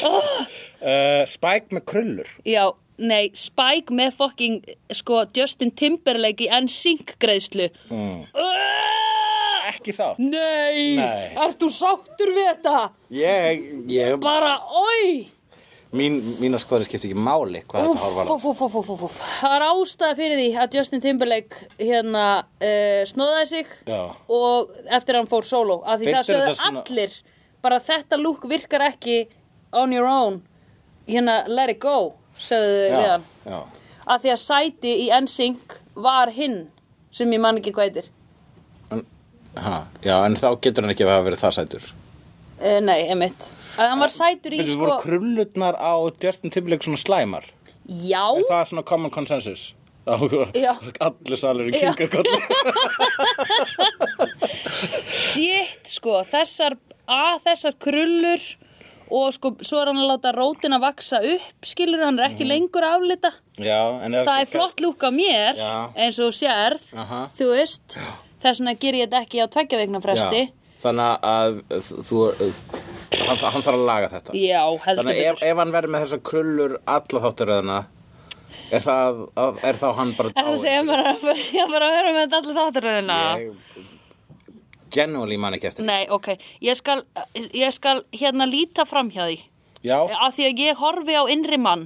Speaker 4: *laughs* Uh, Spike með krullur.
Speaker 3: Já, nei, Spike með fucking, sko, Justin Timberlake í NSYNC greiðslu. Mm.
Speaker 4: Ekki sátt.
Speaker 3: nei,
Speaker 4: Nei.
Speaker 3: ert þú sáttur við þetta?
Speaker 4: Ég, ég,
Speaker 3: Bara, oi!
Speaker 4: mín, mína skoður skipti ekki máli hvað þetta hálf var.
Speaker 3: Úff, úff, úff, úff, úff, úff. Það er ástæða fyrir því að Justin Timberlake hérna uh, snóðaði sig
Speaker 4: Já.
Speaker 3: og eftir að hann fór solo af því
Speaker 4: Finnst
Speaker 3: það
Speaker 4: þér
Speaker 3: sögðu
Speaker 4: þetta svona-
Speaker 3: allir bara þetta lúk virkar ekki on your own hérna let it go sögðu við hann
Speaker 4: já.
Speaker 3: af því að sæti í NSYNC var hinn sem ég man ekki hvað heitir
Speaker 4: En, ha, já, en þá getur hann ekki að hafa verið það sætur.
Speaker 3: uh, nei, emitt að hann var sætur í
Speaker 4: Þetta
Speaker 3: sko
Speaker 4: voru krullutnar á Justin Timberlake svona slæmar
Speaker 3: já,
Speaker 4: Er það svona common consensus? Á-
Speaker 3: Já.
Speaker 4: Allir salur
Speaker 3: Já.
Speaker 4: kinkar kolli
Speaker 3: *laughs* Sitt sko, þessar að þessar krullur og sko, svo er hann að láta rótina vaksa upp, skilur, hann er ekki lengur aflita.
Speaker 4: Mhm. Já, en
Speaker 3: Það er flott lúk á mér,
Speaker 4: Já.
Speaker 3: eins og þú sérð,
Speaker 4: Aha.
Speaker 3: þú veist, þess vegna ger ég þetta ekki á tveggja veikna fresti.
Speaker 4: Já, Þannig að þú hann, hann þarf að laga þetta
Speaker 3: Já, heldur
Speaker 4: Þannig að ef,
Speaker 3: betur.
Speaker 4: ef hann verður með þessar krullur alla þátturöðuna er, það, er þá hann bara
Speaker 3: Er það að segja mér að fara- *laughs* sé að fara að höra með þetta allir þátturöðina?
Speaker 4: Genúli man ekki eftir því.
Speaker 3: Nei, ok, ég skal, ég skal hérna líta fram hjá því,
Speaker 4: Já,
Speaker 3: af því að ég horfi á innri mann.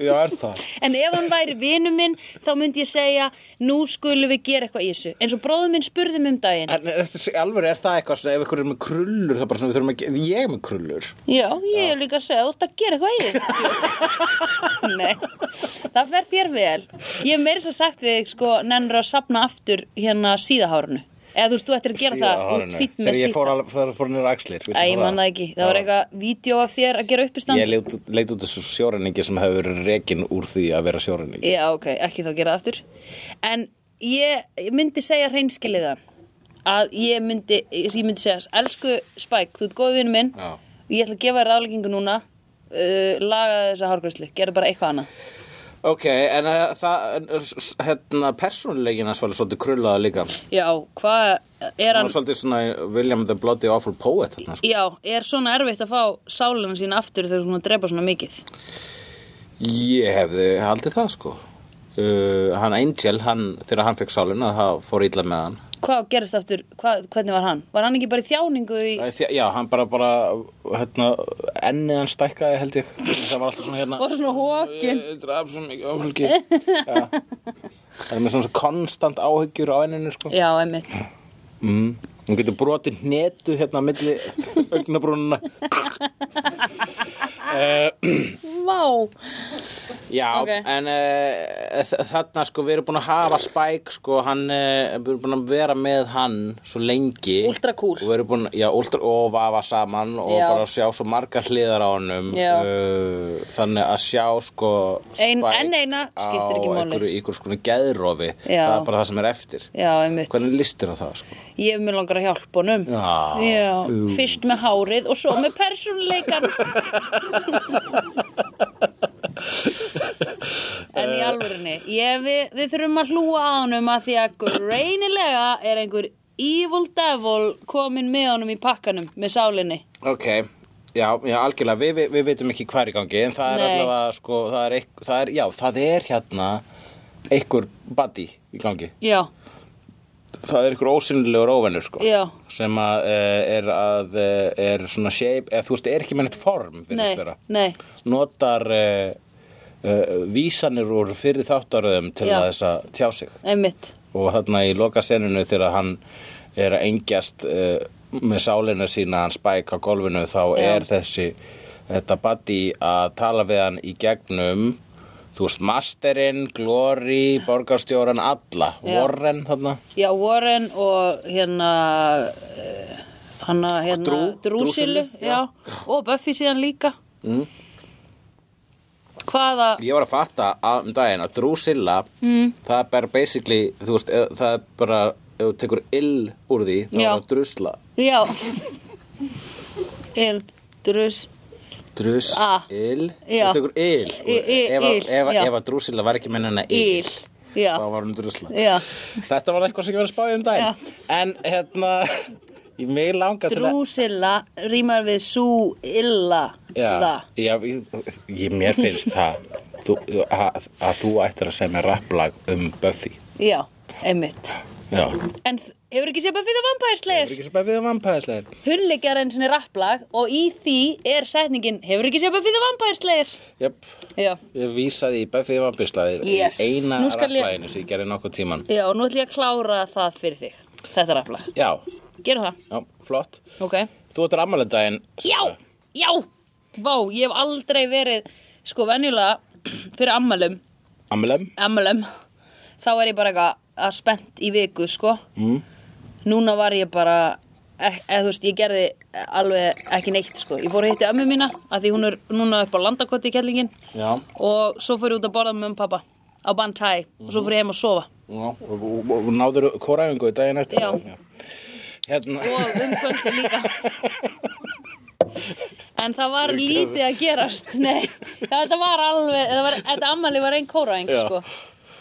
Speaker 4: já, er það
Speaker 3: En ef hann væri vinu minn, þá myndi ég segja, nú skulum við gera eitthvað í þessu. En svo bróðum minn spurði mig um daginn.
Speaker 4: En er, alveg er það eitthvað svona, ef ykkur er með krullur það er bara svona, við þurfum að, ge- ég er með krullur
Speaker 3: Já, ég er líka að segja, þú ert að gera eitthvað í þessu.
Speaker 4: *laughs*
Speaker 3: Nei, það fer þér vel. Ég hef meira svo sagt við, þig, sko, nennur að sapna aftur hérna síðahárunu. Eða þú veist, þú ættir að gera það út fýtt með
Speaker 4: Þegar ég fór,
Speaker 3: síðan.
Speaker 4: alveg, þegar ég fór nýra axlir
Speaker 3: Æ, ég man það ekki. Það var eitthvað vídeo af þér að gera uppistand.
Speaker 4: Ég leit, út- leit út þessu sjórenningi sem hefur verið rekin úr því að vera sjórenningi
Speaker 3: Já, ok, ekki þá gera það aftur. En ég, ég myndi segja hreinskilið það að ég myndi, ég ég myndi segja elsku Spike, þú ert góð vinur minn
Speaker 4: Já.
Speaker 3: ég ætla að gefa þér ráðleggingu núna uh, laga þessa hárgræslu, gera bara eitthvað annað
Speaker 4: Ok, en eh, það, en, eh, s- hérna, persónulegin hans var svolítið krullaða líka.
Speaker 3: Já, hvað
Speaker 4: Hann
Speaker 3: er hann
Speaker 4: var svolítið svona William the Bloody Awful Poet. Hérna, sko.
Speaker 3: Já, er svona erfitt að fá sálinu sín aftur þegar hún er búin að drepa svona mikið
Speaker 4: Ég hefði haldið það, sko. Uh, hann Angel, hann, þegar hann fekk sálina, það fór illa með hann.
Speaker 3: Hvað gerist aftur, hvað, hvernig var hann? Var hann ekki bara í þjáningu í
Speaker 4: Æ, þjá- Já, hann bara, bara, hérna, ennið hann stækkaði, held ég. Það var alltaf svona hérna.
Speaker 3: Var svona hokin.
Speaker 4: Ég draf svo mikið áhulgi. Það er með svona konstant áhyggjur á enninu, sko.
Speaker 3: Já, einmitt
Speaker 4: Mm. Hún getur brotið hnetu hérna á milli augnabrúnuna.
Speaker 3: Vá
Speaker 4: Já,
Speaker 3: Ok.
Speaker 4: en uh, þarna sko, við erum búin að hafa Spike, sko, hann, uh, við erum búin að vera með hann svo lengi.
Speaker 3: Ultra cool.
Speaker 4: Og við erum búin, já, ultra, og vafa saman og
Speaker 3: Já.
Speaker 4: bara sjá svo margar hliðar á honum.
Speaker 3: Já.
Speaker 4: Uh, þannig að sjá, sko,
Speaker 3: Ein-
Speaker 4: Spike
Speaker 3: enn eina skiptir ekki
Speaker 4: á
Speaker 3: máli.
Speaker 4: einhverju, einhverju sko geðrofi.
Speaker 3: Já.
Speaker 4: Það er bara það sem er eftir.
Speaker 3: Já, einmitt
Speaker 4: Hvernig listir það, sko?
Speaker 3: Ég mun langar að hjálpa honum
Speaker 4: Já. Ú.
Speaker 3: fyrst með hárið og svo með persónuleikan En í alvörinni ég, við, við þurfum að hlúa á honum að því að greinilega er einhver evil devil komin með honum í pakkanum með sálinni
Speaker 4: Ok, já, já algjörlega, við, við, við veitum ekki hver í gangi en það er
Speaker 3: Nei.
Speaker 4: allavega, sko, það er, eitth, það er, já, það er hérna einhver buddy í gangi.
Speaker 3: Já,
Speaker 4: Það er einhver ósynlegur óvennur, sko.
Speaker 3: Já.
Speaker 4: Sem að e, er að, e, er svona shape, eða þú veist, er ekki með neitt form,
Speaker 3: nei,
Speaker 4: virðist vera.
Speaker 3: nei
Speaker 4: Notar e, e, vísanir úr fyrir þáttaröðum til
Speaker 3: Já.
Speaker 4: að þess að tjá sig.
Speaker 3: Einmitt
Speaker 4: og þarna í loka seninu þegar hann er að engjast uh, með sálinu sína hann spæk á golfinu þá
Speaker 3: Já.
Speaker 4: er þessi þetta buddy að tala við hann í gegnum þú veist masterinn, glory, borgarstjóran alla,
Speaker 3: Já.
Speaker 4: Warren þarna
Speaker 3: Já, Warren og hérna eh, hana, hérna
Speaker 4: Drú- Drúsilu,
Speaker 3: Drúsilu, já. og Buffy síðan líka mm. Hvaða
Speaker 4: ég var að fatta að- um daginn að Drusilla mm. það er bara basically þú veist, eh, það er bara ef þú tekur ill úr því þá
Speaker 3: Já.
Speaker 4: er það drusla
Speaker 3: Já Il, drus
Speaker 4: drus,
Speaker 3: A.
Speaker 4: ill,
Speaker 3: Já.
Speaker 4: þú tekur ill
Speaker 3: I- i-
Speaker 4: ef, að-
Speaker 3: ill,
Speaker 4: ef, að-
Speaker 3: já.
Speaker 4: ef að Drusilla var ekki menna
Speaker 3: Il, já,
Speaker 4: þá var hún drusla
Speaker 3: já.
Speaker 4: Þetta var eitthvað sem ég var að spáði um daginn En hérna *laughs* Ég mig langar til að
Speaker 3: Drúsilla rýmar við sú illa
Speaker 4: Já,
Speaker 3: það.
Speaker 4: já, ég, ég, mér finnst það þú, að, að þú ættir að segja mér rapplag um Buffy
Speaker 3: Já, einmitt
Speaker 4: Já
Speaker 3: En þ- hefur ekki séð Buffy the Vampire
Speaker 4: Er
Speaker 3: Slayer?
Speaker 4: ekki svo bara við að vampæðislegir
Speaker 3: Hullegar enn sinni rapplag og í því er setningin Hefur ekki séð Buffy the Vampire Slayer?
Speaker 4: Jöp,
Speaker 3: Já
Speaker 4: ég vísaði í Buffy vampæðislegir
Speaker 3: Yes.
Speaker 4: Í eina
Speaker 3: Nú skal ég-
Speaker 4: rapplaginu sem ég gerði nokkuð tíman
Speaker 3: Já, og nú ætlum ég að klára það fyrir þig. Þetta rafla.
Speaker 4: Já,
Speaker 3: Gerum það.
Speaker 4: já, flott
Speaker 3: Ok.
Speaker 4: Þú ættir ammælið daginn
Speaker 3: Já, já, vá, ég hef aldrei verið, sko, venjulega *clears throat* fyrir ammalum,
Speaker 4: Ammælum
Speaker 3: ammalum, þá er ég bara eitthvað að spennt í viku, sko. Mm. Núna var ég bara, e- eða þú veist, ég gerði alveg ekki neitt, sko. Ég fór að hitti ömmu mína, að því hún er núna upp á landakoti í kellingin
Speaker 4: Já,
Speaker 3: og svo fór ég út að borða með um pappa á Bantai og svo fór ég heim að sofa.
Speaker 4: já og- og- og Náður koræfingu daginn eftir
Speaker 3: Já.
Speaker 4: Hérna
Speaker 3: og um kvöldi líka en það var lítið að gerast nei, þetta var alveg það var, þetta ammali var einn kóraeng
Speaker 4: Já.
Speaker 3: sko.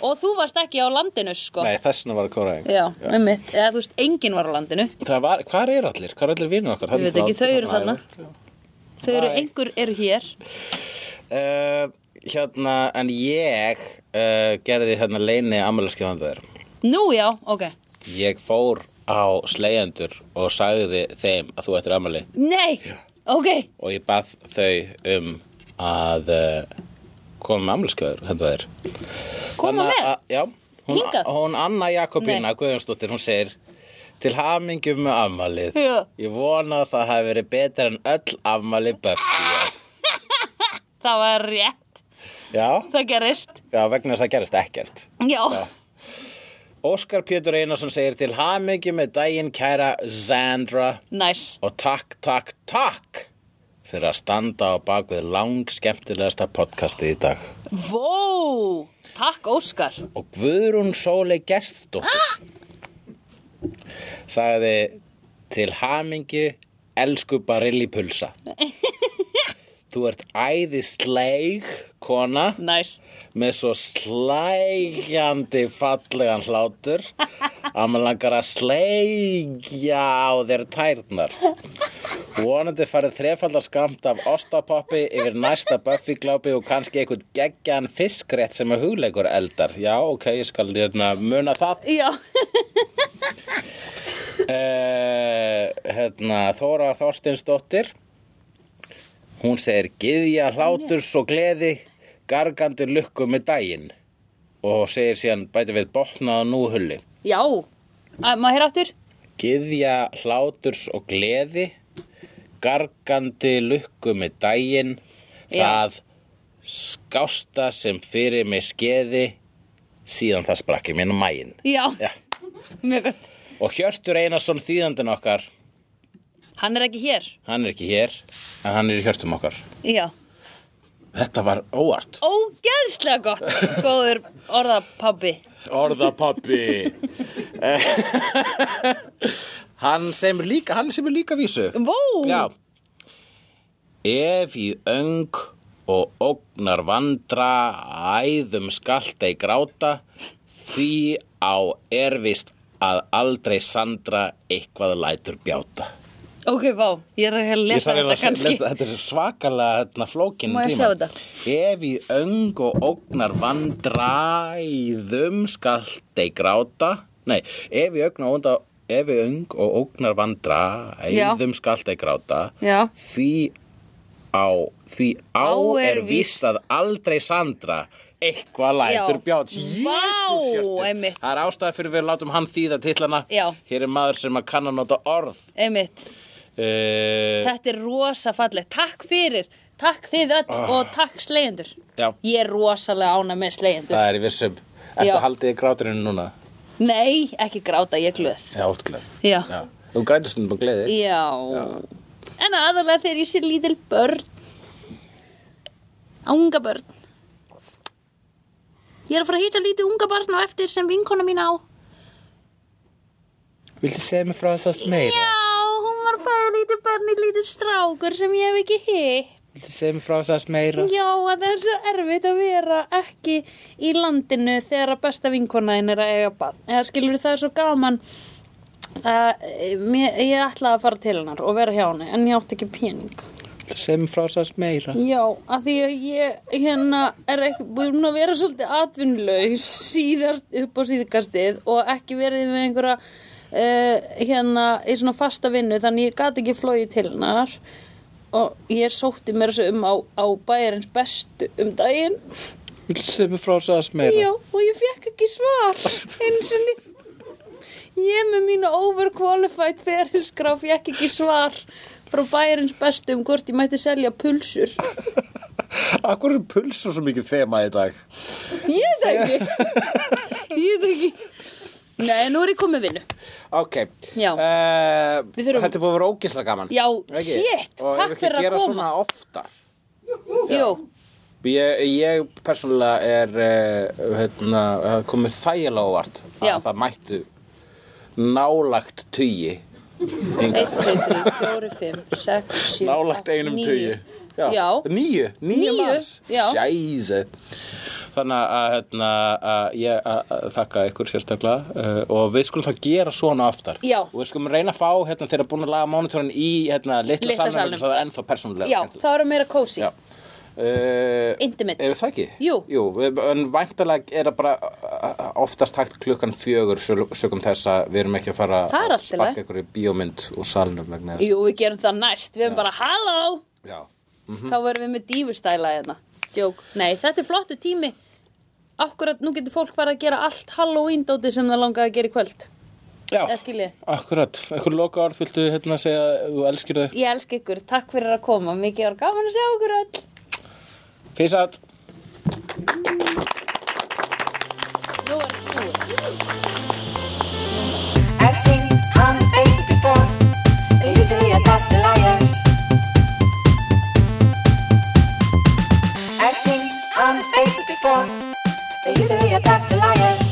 Speaker 3: og þú varst ekki á landinu sko.
Speaker 4: *laughs* Nei, þess vegna var koræfingu
Speaker 3: já, einmitt, eða þú veist, enginn var á landinu
Speaker 4: Það var, hvar er allir? Hvar er allir vinnur okkar?
Speaker 3: Ég veit ekki, þau eru þarna.
Speaker 4: þarna.
Speaker 3: þau eru,
Speaker 4: Nei.
Speaker 3: einhver eru hér
Speaker 4: Uh, hérna, en ég uh, gerði hérna leini ammælaskefandar.
Speaker 3: nú já, ok
Speaker 4: Ég fór á slegjendur og sagði þeim að þú ættir ammæli
Speaker 3: nei, ok,
Speaker 4: og ég bað þau um að uh, koma með ammælaskefandar hérna þér.
Speaker 3: koma með
Speaker 4: Já, hún,
Speaker 3: Hingað?
Speaker 4: hún Anna Jakobina
Speaker 3: Nei.
Speaker 4: Guðjónsdóttir, hún segir Til hamingjum með afmælið.
Speaker 3: Já.
Speaker 4: Ég vona að það hafi verið betra en öll afmæli Buffy.
Speaker 3: það var rétt,
Speaker 4: Já.
Speaker 3: það gerist
Speaker 4: Já, vegna þess að það gerist ekkert.
Speaker 3: já,
Speaker 4: Óskar Pétur Einarsson segir til hamingi með daginn kæra Zandra
Speaker 3: næs
Speaker 4: og takk, takk, takk fyrir að standa á bak við lang skemmtilegasta podcastið í dag.
Speaker 3: vó, takk Óskar
Speaker 4: Og Guðrún Sólei Gestsdóttir sagði til hamingi elsku Barilli Pulsa. Þú ert æðisleik, kona
Speaker 3: Næs.
Speaker 4: með svo slægjandi fallegan hlátur að maður langar að sleigja á þeir tærnar. Vonandi farið þrefaldar skamt af ostapoppi yfir næsta Buffy-glápi og kannski einhvern geggjan fiskrétt sem er hugleikur eldar. Já, ok, ég skal hérna muna það.
Speaker 3: Já,
Speaker 4: Eh, hérna, Þóra Þorstinsdóttir hún segir gyðja hláturs og gleði gargandi lukku með daginn og segir síðan bæti við botnaða nú hulli
Speaker 3: já. Að, má hér aftur?
Speaker 4: gyðja hláturs og gleði gargandi lukku með daginn
Speaker 3: Já.
Speaker 4: það skásta sem fyrir mig skeði síðan það sprakk í minn mægin
Speaker 3: Já.
Speaker 4: Já.
Speaker 3: Mjög gott.
Speaker 4: og Hjörtur Einarsson þýðandinn okkar
Speaker 3: Hann er ekki hér.
Speaker 4: Hann er ekki hér, en hann er í hjörtum okkar.
Speaker 3: Já.
Speaker 4: Þetta var óvart.
Speaker 3: Ógeðslega gott, góður orðapabbi.
Speaker 4: Orðapappi. *laughs* hann sem er líka, hann sem er líka vísu.
Speaker 3: Vó!
Speaker 4: Já. Ef í öng og ógnar vandra æðum skalta í gráta, því á erfist að aldrei sandra eitthvað lætur bjáta.
Speaker 3: Ok, vá, ég er að hérna lesa
Speaker 4: Ég þarf
Speaker 3: þetta
Speaker 4: eiginlega að
Speaker 3: kannski.
Speaker 4: lesa- þetta er svakalega hérna, flókin
Speaker 3: Má ég sjá þetta?
Speaker 4: Ef í öng og ógnar vandræðum skalt ei gráta Nei, ef í ögn og ógnar Ef í öng og ógnar vandræðum skalt ei gráta
Speaker 3: Já.
Speaker 4: Því á Því á er víst að aldrei Sandra eitthvað lætur
Speaker 3: Já.
Speaker 4: bjátt
Speaker 3: Vá, einmitt.
Speaker 4: Það er ástæða fyrir við látum hann þýða titlana
Speaker 3: Já.
Speaker 4: Hér er maður sem að kann að nota orð
Speaker 3: Einmitt,
Speaker 4: Uh,
Speaker 3: þetta er rosa fallegt. Takk fyrir, takk þið öll og takk slegjendur.
Speaker 4: Já.
Speaker 3: Ég er rosalega ána með slegjendur.
Speaker 4: Það er í vissum. Ertu
Speaker 3: Já.
Speaker 4: að haldið í gráturinn núna?
Speaker 3: Nei, ekki gráta, ég er glöð.
Speaker 4: Já, óttglæð.
Speaker 3: Já.
Speaker 4: Já. Þú grætur stundum á gleði.
Speaker 3: Já. En aðalega þegar ég sé lítil börn. Unga börn. Ég er að fara að hýta lítið unga barn og eftir sem vinkona mín á.
Speaker 4: Viltu segja mér frá þess að smeira?
Speaker 3: Já, hún var bara lítið barn í lítið strákur sem ég hef ekki hitt.
Speaker 4: Viltu segja mér frá þess að smeira?
Speaker 3: Já, að það er svo erfitt að vera ekki í landinu þegar að besta vinkonaðin er að eiga bann. Eða skilur það er svo gaman að eh, mér, ég ætlaði að fara til hennar og vera hjá henni en ég átti ekki pening.
Speaker 4: Viltu segja mér frá þess að smeira?
Speaker 3: Já, að því að ég hérna er ekki búin að vera svolítið atvinnlaus síðast upp á síðkastið og ekki verið með einhverja uh, hérna í svona fasta vinnu þannig ég gat ekki flóið til hennar og ég sótti mér þessu um á, á bæjarins bestu um daginn
Speaker 4: Viltu segja mér frá þess að smeira?
Speaker 3: Já, og ég fekk ekki svar eins og niður Ég með mínu overqualified ferilskrá fekk ekki svar frá bæjarins bestu um hvort ég mætti selja pulsur
Speaker 4: Akkur er pulsur svo mikið þema í dag?
Speaker 3: Ég veit það ekki *laughs* Ég veit það ekki Nei, nú er ég komið vinnu
Speaker 4: Ok.
Speaker 3: Já.
Speaker 4: Eh,
Speaker 3: Við þurfum-
Speaker 4: Þetta er búið að vera ógisla gaman.
Speaker 3: Já,
Speaker 4: Ekki?
Speaker 3: shit,
Speaker 4: Og
Speaker 3: takk
Speaker 4: ef ekki
Speaker 3: fyrir að
Speaker 4: gera
Speaker 3: koma
Speaker 4: svona oftar.
Speaker 3: Jú,
Speaker 4: Ég, ég persónulega er eh, hérna, það er komið þægilega óvart að
Speaker 3: Já.
Speaker 4: það mættu nálagt tugi
Speaker 3: 1, 2, 3, 4, 5, 6, 7,
Speaker 4: nálagt einum tugi
Speaker 3: Já, já.
Speaker 4: Níu, níu
Speaker 3: Níu,
Speaker 4: manns
Speaker 3: já.
Speaker 4: Sjæse Þannig að, hérna, að ég að, að þakka ykkur sérstaklega uh, og við skulum þá gera svona aftar
Speaker 3: Já.
Speaker 4: og við skulum reyna að fá hérna, þeirra búin að laga monitorinn í hérna, litla,
Speaker 3: Litla
Speaker 4: litla
Speaker 3: salnum.
Speaker 4: salnum, svo það er ennþá persónulega
Speaker 3: Já,
Speaker 4: skemmtilegt.
Speaker 3: það eru meira kósi
Speaker 4: Já. Uh,
Speaker 3: Intimate.
Speaker 4: Er það ekki?
Speaker 3: Jú.
Speaker 4: Jú, við- en væntalega er það bara uh, oftast hægt klukkan fjögur söl- sökum þess að við erum ekki að fara
Speaker 3: Það
Speaker 4: að
Speaker 3: er allt í lagi.
Speaker 4: sparka ykkur í bíómynd úr salnum vegna þess.
Speaker 3: Jú, við gerum það næst, við erum bara halló
Speaker 4: Já. Mhm.
Speaker 3: þá verðum við með dífustæla hérna Jók, nei, þetta er flottu tími Akkurat, nú getur fólk farið að gera allt Halloween dóti sem það langaði að gera í kvöld
Speaker 4: Já.
Speaker 3: Eða skilji,
Speaker 4: Akkurat. Ekkur loka orð viltu hérna segja að þú elskir þau.
Speaker 3: ég elska ykkur, takk fyrir að koma Mikið var gaman að sjá ykkur öll
Speaker 4: Peace out.
Speaker 3: Nú er það búið
Speaker 6: I've seen honest faces before. They're usually a pass to liars. I've seen honest faces before. They're usually a pass to liars.